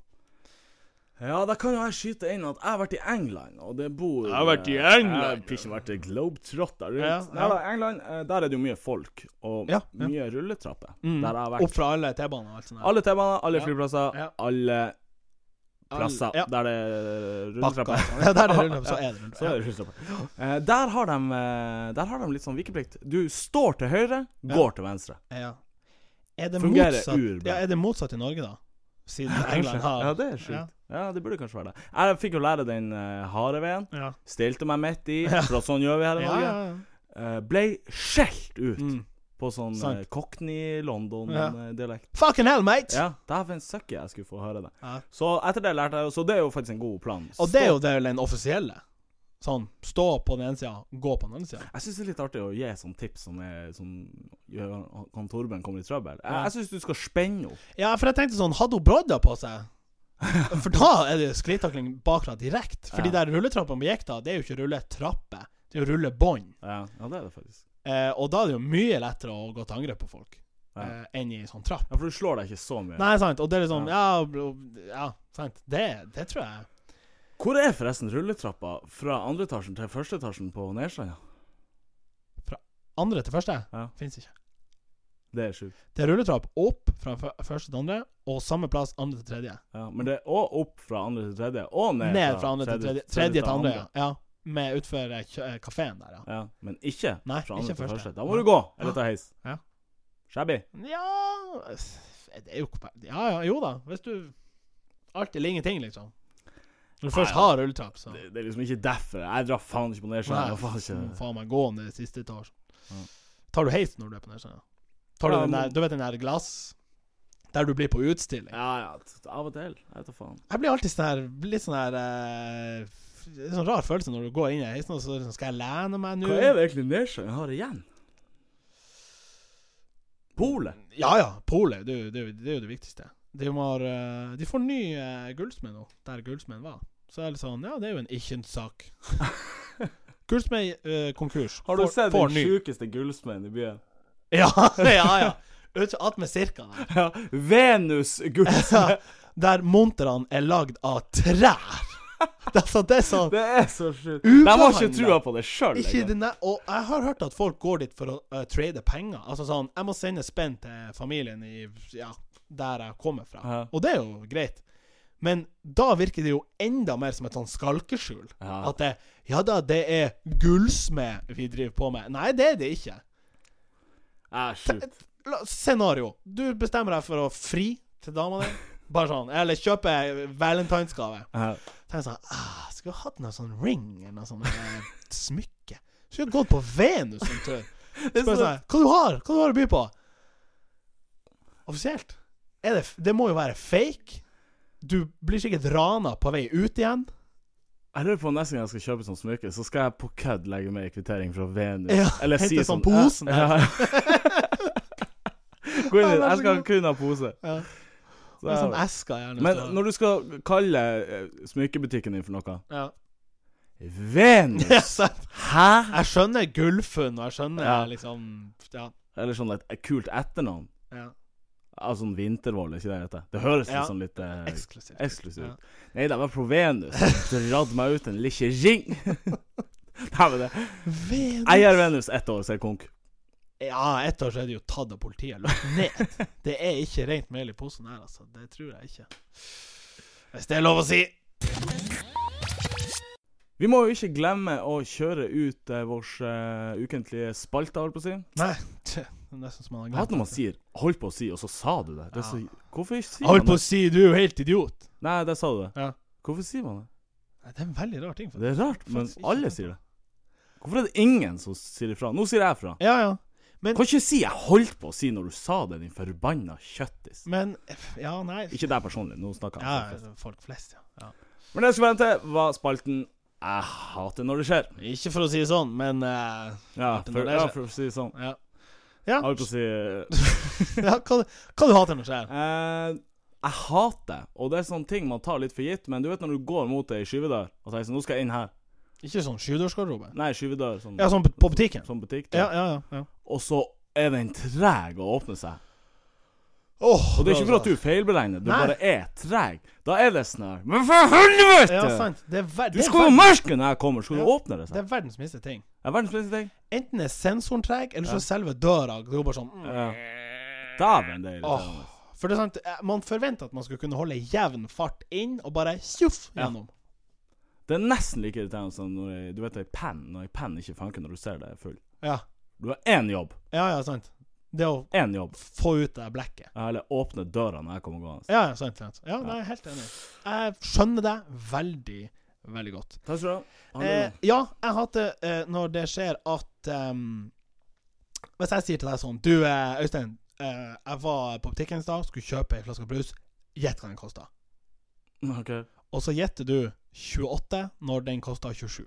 S2: Ja, da kan jo jeg skyte inn at jeg har vært i England, og det bor
S1: Jeg har vært i
S2: eh,
S1: England.
S2: Jeg har ikke vært globetrotter rundt.
S1: Ja,
S2: Ja,
S1: ja.
S2: da, England, eh, der er det jo mye folk, og
S1: Ja, ja.
S2: mye rulletrapper.
S1: Mm.
S2: Der jeg har vært.
S1: Opp fra alle T-baner og alt sånt. der.
S2: Alle T-baner, alle
S1: Ja.
S2: flyplasser,
S1: Ja.
S2: alle plasser
S1: Ja,
S2: der det er
S1: bakker.
S2: rulletrapper.
S1: Ja, der er det rulletrapp, så er det
S2: Så er
S1: rulletrapp.
S2: det rulletrapper. Eh, der, har de, eh, der har de litt sånn vikeplikt. Du står til høyre, går til venstre.
S1: Ja. Ja. Er det
S2: Fungerer
S1: motsatt,
S2: urbra.
S1: ja, er det motsatt i Norge, da? Siden England har
S2: Ja, det er sjukt. Ja. det burde kanskje være det. Jeg fikk jo lære den eh, harde veien.
S1: Ja. Ja.
S2: Stilte meg midt i, for sånn gjør vi her i
S1: Ja,
S2: Norge.
S1: ja, ja.
S2: Eh, ble skjelt ut
S1: Mm.
S2: på sånn
S1: Sant.
S2: eh, Cockney-London-dialekt.
S1: Fucking hell, mate!
S2: Ja, dæven søkker jeg skulle få høre det.
S1: Ja.
S2: Så etter det lærte jeg jo Så det er jo faktisk en god plan.
S1: Og det er jo det vel den offisielle. Sånn, stå på den ene sida, gå på den andre sida.
S2: Jeg syns det er litt artig å gi sånn tips som er som gjør at han Torben kommer i trøbbel. Jeg,
S1: Ja.
S2: jeg syns du skal spenne opp.
S1: Ja, for jeg tenkte sånn, hadde hun brodder på seg? For da er det sklitakling bakfra direkte. For de
S2: Ja.
S1: der rulletrappene vi gikk da, det er jo ikke rulletrapper, det er jo rullebånd.
S2: Ja, ja det er det faktisk.
S1: Eh, og da er det jo mye lettere å gå til angrep på folk
S2: Ja.
S1: eh, enn i sånn trapp.
S2: Ja, for du slår deg ikke så mye.
S1: Nei, sant. Og det er liksom Ja, bro, ja sant. Det, det tror jeg.
S2: Hvor er forresten rulletrappa fra andre etasjen til første etasjen på Nerstranda?
S1: Andre til første
S2: Ja.
S1: fins ikke.
S2: Det er sjukt.
S1: Det er rulletrapp opp fra fø- første til andre, og samme plass andre til tredje.
S2: Ja, men det er òg opp fra andre til tredje, og ned,
S1: Ned, fra andre til tredje. Tredje til andre, ja. ja. Med eh, utfor kafeen der, ja.
S2: Ja, men ikke
S1: Nei,
S2: fra andre
S1: ikke
S2: til
S1: første.
S2: første. Da må du gå, eller ta heis.
S1: Ja.
S2: Shabby.
S1: Ja Det er jo kompa- Ja ja, jo da. Hvis du Alt eller ingenting, liksom. Når du først
S2: Nei, ja.
S1: har rulletrapp, så
S2: Det, det er liksom ikke derfor. Jeg drar faen ikke på
S1: Nei,
S2: Nesjøen. Faen ikke.
S1: må faen meg gå ned i siste etasje.
S2: Ja.
S1: Tar du heis når du er på nedsida? Tar du
S2: Ja,
S1: den
S2: men-
S1: der, du vet den der glass Der du blir på utstilling?
S2: Ja, ja. t- Av og til. Jeg vet da faen.
S1: Jeg blir alltid sånn her Litt sånn her eh, f- det er sånn rar følelse når du går inn i heisen og så er det sånn, Skal jeg lene meg nå?
S2: Hva er det egentlig Nesjøen har igjen? Polet?
S1: Ja ja, polet. Det, er jo- det, er jo- det er jo det viktigste. De, har, eh, de får ny eh, gullsmed nå, der gullsmeden var. Så er det litt sånn Ja, det er jo en ikke-sak. gullsmed eh, konkurs.
S2: Har du
S1: Får-
S2: sett
S1: får
S2: den
S1: ny.
S2: sjukeste gullsmeden i byen?
S1: Ja, ja. ja. Ut- Attmed cirka der.
S2: Ja, Venus gullsmed.
S1: Der monterne er lagd av trær. Det, er så- det er sånn
S2: Det er så sjukt. De har ikke
S1: Ubehandlet.
S2: trua på det liksom. sjøl.
S1: ikke den der, Og jeg har hørt at folk går dit for å eh, trade penger. Altså sånn Jeg må sende spenn til familien i Ja, der jeg kommer fra.
S2: Ja.
S1: Og det er jo greit. Men da virker det jo enda mer som et sånn skalkeskjul.
S2: Ja.
S1: At det Ja da, det er gullsmed vi driver på med. Nei, det er det ikke.
S2: Ja, sjukt.
S1: La, scenario. Du bestemmer deg for å fri til dama di. Bare sånn. Eller kjøpe valentinsgave.
S2: Ja.
S1: Tenk sånn ah, Skulle hatt noe sånn ring eller noe sånt eh, smykke. Skulle gått på Venus en tur.
S2: Det er
S1: Spør
S2: sånn-
S1: sånn Hva du har Hva du har å by på? Offisielt? Er det, f- det må jo være fake. Du blir sikkert rana på vei ut igjen.
S2: Jeg lurer på neste gang jeg skal kjøpe sånn smykke, så skal jeg på kødd legge med en kvittering fra Venus.
S1: Ja,
S2: Eller
S1: hente
S2: si
S1: sånn
S2: sånn
S1: posen
S2: Ja, ja. Gå inn i Jeg skal kun ha pose.
S1: Ja.
S2: Så-
S1: Det er sånn esker gjerne.
S2: Men
S1: så-
S2: når du skal kalle eh, smykkebutikken din for noe
S1: ja. Ja,
S2: Venus!
S1: sant.
S2: Hæ?!
S1: Jeg skjønner Gullfunn, og jeg skjønner
S2: Ja.
S1: liksom Ja.
S2: Eller sånn et, et kult etternavn.
S1: ja.
S2: Altså sånn vintervoll, er ikke det dette? Det høres
S1: Ja.
S2: litt sånn litt eh,
S1: Eksklusivt.
S2: eksklusivt
S1: Ja.
S2: ut. Nei, det var Provenus. Dratt meg ut en lille ring. Nei, men det
S1: Venus.
S2: Eier Venus ett år, så er konk.
S1: Ja, ett år så er det jo tatt av politiet og lagt ned. Det er ikke rent mel i posen her, altså. Det tror jeg ikke. Hvis det er lov å si.
S2: Vi må jo ikke glemme å kjøre ut eh, vår eh, ukentlige spalte, holdt på å si.
S1: Nei, tje, det er nesten som man har
S2: Jeg hater
S1: glemt.
S2: når man sier 'holdt på å si', og så sa du det. det er så,
S1: Ja.
S2: hvorfor ikke sier
S1: Jeg holdt
S2: man
S1: på
S2: det?
S1: å si du er jo helt idiot.
S2: Nei, der sa du det.
S1: Ja.
S2: Hvorfor sier man det?
S1: Nei, det er en veldig rar ting. faktisk.
S2: Det er rart, men
S1: Faktisk ikke
S2: alle
S1: sant.
S2: sier det. Hvorfor er det ingen som sier ifra? Nå sier jeg ifra.
S1: Ja, ja.
S2: Kan ikke si 'jeg holdt på å si' når du sa det, din forbanna kjøttis.
S1: Men Ja, nei.
S2: Ikke deg personlig, nå snakker
S1: Ja,
S2: jeg.
S1: folk flest, ja. ja.
S2: Men det jeg skulle vente, var spalten 'Jeg hater når det skjer'.
S1: Ikke for å si det sånn, men eh,
S2: Ja,
S1: Hater
S2: for,
S1: når det
S2: ja,
S1: skjer.
S2: for å si det sånn.
S1: Ja.
S2: Jeg
S1: Ja,
S2: holdt på å si eh,
S1: ja hva, hva du hater når det skjer?
S2: Eh, jeg hater, og det er sånne ting man tar litt for gitt, men du vet når du går mot ei skyvedør og tenker sånn 'Nå skal jeg inn her'.
S1: Ikke sånn sjudørsgarderobe?
S2: Nei, skyvedør, sånn,
S1: Ja, sånn på- på butikken?
S2: sånn butikk.
S1: Ja,
S2: da.
S1: ja, ja. ja.
S2: Og så er den treg å åpne seg.
S1: Åh,
S2: Og det er ikke for at du feilberegner, du
S1: Nei.
S2: bare er treg. Da er det snørr. Men for helvete!
S1: Ja, sant. Det er, ver
S2: Du
S1: det er
S2: skal jo
S1: verdens-
S2: merke når jeg kommer, skal du
S1: Ja.
S2: åpne det?
S1: det
S2: seg?
S1: er verdens minste ting.
S2: Det er verdens beste ting.
S1: Enten er sensoren treg, eller så er selve døra går bare sånn mm.
S2: Ja. Dæven, det er sånn, irriterende.
S1: Åh. For det er sant, eh, man forventer at man skal kunne holde jevn fart inn, og bare tjoff
S2: Ja.
S1: gjennom.
S2: Det er nesten like irriterende som når jeg, du vet ei penn, når ei penn ikke funker når du ser det er full.
S1: Ja.
S2: Du har én jobb.
S1: ja, ja, sant. Det å
S2: Én jobb.
S1: få ut det blekket.
S2: Eller åpne døra når jeg kommer gående.
S1: Ja, ja, sant. sant. Ja, nei, jeg er helt enig. Jeg skjønner deg veldig, veldig godt.
S2: Takk skal du ha.
S1: Eh, ja, jeg hater eh, når det skjer at ehm, Hvis jeg sier til deg sånn Du, eh, Øystein, eh, jeg var på butikken i stad, skulle kjøpe ei flaske brus. Gjett hva den kosta.
S2: OK.
S1: Og så gjetter du 28 når den koster 27.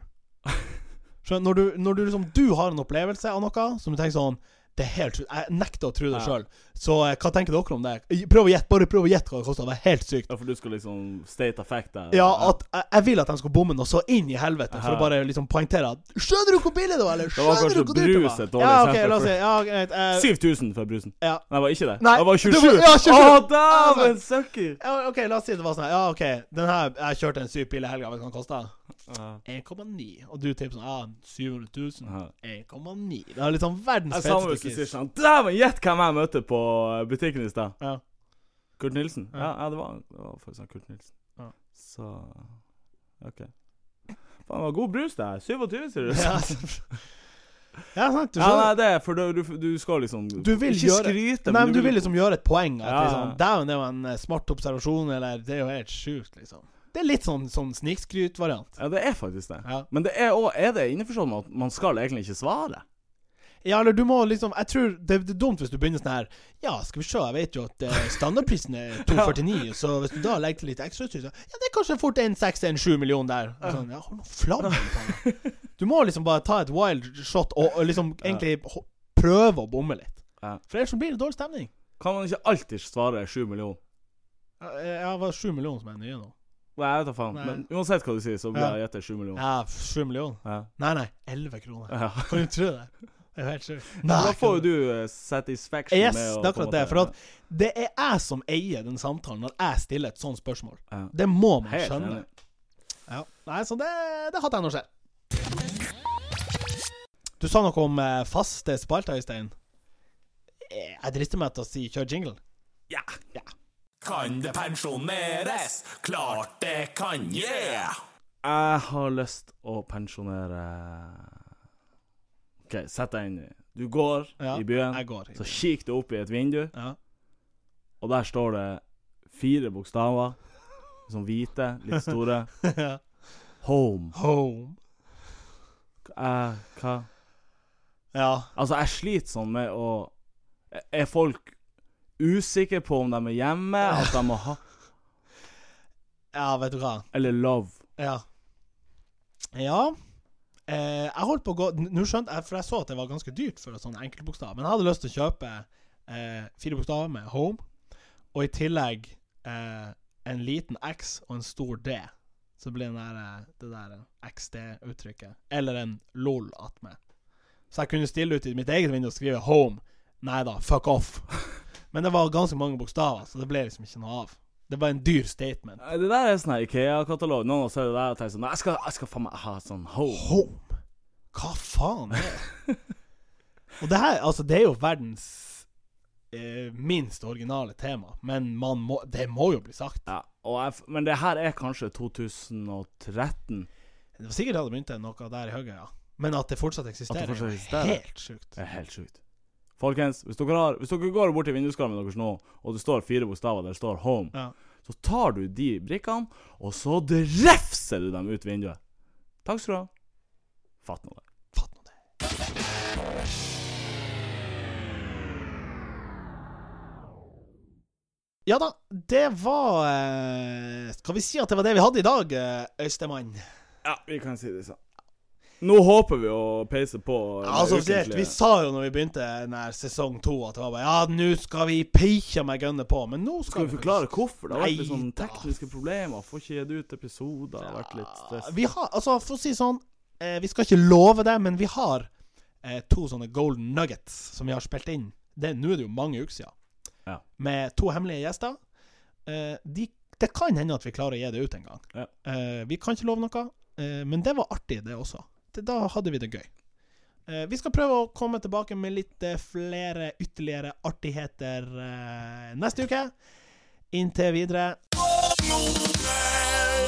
S1: Skjønner, når, du, når du liksom Du har en opplevelse av noe som du tenker sånn det er helt sykt. Jeg nekter å tro det
S2: Ja.
S1: sjøl. Så eh, hva tenker dere om det? Prøv å gjette, bare prøv å gjette hva det koster. Det er helt sykt.
S2: Ja, for du skal liksom state of fact der?
S1: Ja, at jeg, jeg vil at de skal bomme noe så inn i helvete, for
S2: Ja.
S1: å bare liksom poengtere at Skjønner du hvor billig det var, eller?
S2: var
S1: Skjønner
S2: kanskje
S1: du hvor dyrt det
S2: brus et
S1: var?
S2: dårlig
S1: Ja, ok,
S2: eksempel
S1: la oss
S2: for-
S1: si ja, greit, eh,
S2: 7000 for brusen.
S1: ja.
S2: Nei, det var ikke det.
S1: Nei,
S2: det var
S1: det
S2: 27!
S1: var- ja, 27.
S2: Å,
S1: Ja,
S2: dæven
S1: sant.
S2: søkker!
S1: ja, OK, la oss si det var sånn her. Ja, OK, den her Jeg kjørte en syk bil i helga, vet du hva den kosta? 1,9. Og du tipper sånn ah, 700 000.
S2: Ja.
S1: 1,9. Det er liksom verdens
S2: Jeg savner hvis du
S1: feteste
S2: sier
S1: kiss.
S2: sånn Dæven, gjett hvem jeg møtte på eh, butikken i stad.
S1: Ja.
S2: Kurt Nilsen?
S1: Ja.
S2: Ja, ja det, var, det var faktisk han Kurt Nilsen.
S1: Ja.
S2: Så OK. Faen, det var god brus, det her. 27, sier du?
S1: Ja, ja, sant. Du,
S2: Ja, nei,
S1: skjønner.
S2: det er for du, du, du skal liksom
S1: Du vil
S2: Ikke
S1: gjøre-
S2: skryte,
S1: Nei, men du vil liksom gjøre et poeng. At
S2: Ja, ja.
S1: liksom, Dæven, det var en eh, smart observasjon, eller Det er jo helt sjukt, liksom. Det er litt sånn, sånn snikskryt-variant.
S2: Ja, det er faktisk det.
S1: Ja.
S2: Men det er òg Er det innforstått med at man skal egentlig ikke svare?
S1: Ja, eller du må liksom Jeg tror det, det er dumt hvis du begynner sånn her Ja, skal vi se, jeg vet jo at eh, standardprisen er 249, så hvis du da legger til litt ekstra utstyr, så Ja, det er kanskje fort 1,6-1,7 million der. Og Sånn, ja, hold nå flammen på deg. Du må liksom bare ta et wild shot og, og liksom egentlig ho- prøve å bomme litt.
S2: Ja.
S1: For ellers så blir det dårlig stemning.
S2: Kan man ikke alltid svare 7 millioner?
S1: Ja, eh, Ja, det var 7 millioner som er nye nå.
S2: Nei, jeg vet da faen.
S1: Nei.
S2: Men uansett hva du sier, så blir
S1: Ja.
S2: jeg gjettet 7 millioner.
S1: Ja, 7 millioner.
S2: Ja.
S1: Nei, nei, 11 kroner.
S2: Ja.
S1: Kan du tro det? Det er jo helt sjukt.
S2: Da
S1: Nei,
S2: får jo du eh, satisfaction
S1: Yes,
S2: med å
S1: det er akkurat
S2: på en
S1: det.
S2: måte-
S1: For at det er jeg som eier den samtalen når jeg stiller et sånt spørsmål.
S2: Ja.
S1: Det må man
S2: Helt
S1: skjønne.
S2: enig.
S1: Ja. Nei, så det, det hadde jeg nå skjedd. Du sa noe om eh, faste spalter, Øystein. Eh, Jeg drister meg til å si kjør jingle.
S3: Ja. Kan det pensjoneres? Klart det kan, yeah!
S2: Jeg har lyst å pensjonere OK, sett deg inn i Du går
S1: Ja,
S2: i byen,
S1: Jeg går.
S2: så kikker du opp i et vindu,
S1: Ja.
S2: og der står det fire bokstaver. Sånn hvite, litt store. Home.
S1: Home.
S2: Jeg, hva
S1: Ja.
S2: Altså, jeg sliter sånn med å Er folk usikre på om de er hjemme, at de må ha
S1: ja, vet du hva.
S2: Eller love.
S1: Ja. Ja. Eh, jeg holdt på å gå n- Nå skjønte jeg, for jeg så at det var ganske dyrt for sånne enkeltbokstaver, men jeg hadde lyst til å kjøpe eh, fire bokstaver med Home, og i tillegg eh, en liten X og en stor D. Så blir den der, eh, det der eh, XD-uttrykket. Eller en LOL attmed. Så jeg kunne stille ut i mitt eget vindu og skrive Home. Nei da, fuck off. Men det var ganske mange bokstaver, så det ble liksom ikke noe av. Det var en dyr statement.
S2: Nei, Det der er sånn her IKEA-katalog. Noen har sett det der og tenkt sånn Jeg skal, jeg skal faen meg ha sånn home.
S1: Home? Hva faen er det? Og det her, altså, det er jo verdens eh, minst originale tema, men man må, det må jo bli sagt.
S2: Ja, og jeg, f- men det her er kanskje 2013.
S1: Det var sikkert det hadde begynt noe der i høyre, ja. Men at det fortsatt eksisterer,
S2: At det fortsatt
S1: er jo
S2: eksisterer.
S1: helt sjukt.
S2: Det er helt sjukt. Folkens, hvis dere, har, hvis dere går bort til vinduskarmen deres nå, og det står fire bokstaver der det står 'home',
S1: Ja.
S2: så tar du de brikkene, og så drefser du dem ut vinduet. Takk skal du ha. Fatt nå det.
S1: Fatt nå det. Ja da, det var eh, Skal vi si at det var det vi hadde i dag, eh, Øystemann?
S2: Ja, vi kan si det sånn. Nå håper vi å peise på. med
S1: Altså, offisielt,
S2: ukentlige-
S1: vi sa jo når vi begynte den her sesong to, at det var bare Ja, nå skal vi peikja meg gønne på, men nå skal,
S2: Skal vi forklare hvorfor? Det har vært litt
S1: Nei
S2: sånn
S1: da.
S2: tekniske problemer. Får ikke gitt ut episoder. Det har vært litt stress.
S1: Vi har, altså, for å si sånn eh, Vi skal ikke love det, men vi har eh, to sånne golden nuggets som vi har spilt inn. Det- Nå er det jo mange uker siden.
S2: Ja.
S1: Med to hemmelige gjester. Eh, de, det kan hende at vi klarer å gi det ut en gang.
S2: Ja.
S1: Eh, vi kan ikke love noe, eh, men det var artig, det også. Det, da hadde vi det gøy. Eh, vi skal prøve å komme tilbake med litt eh, flere ytterligere artigheter eh, neste uke. Inntil videre.
S3: Nordmenn!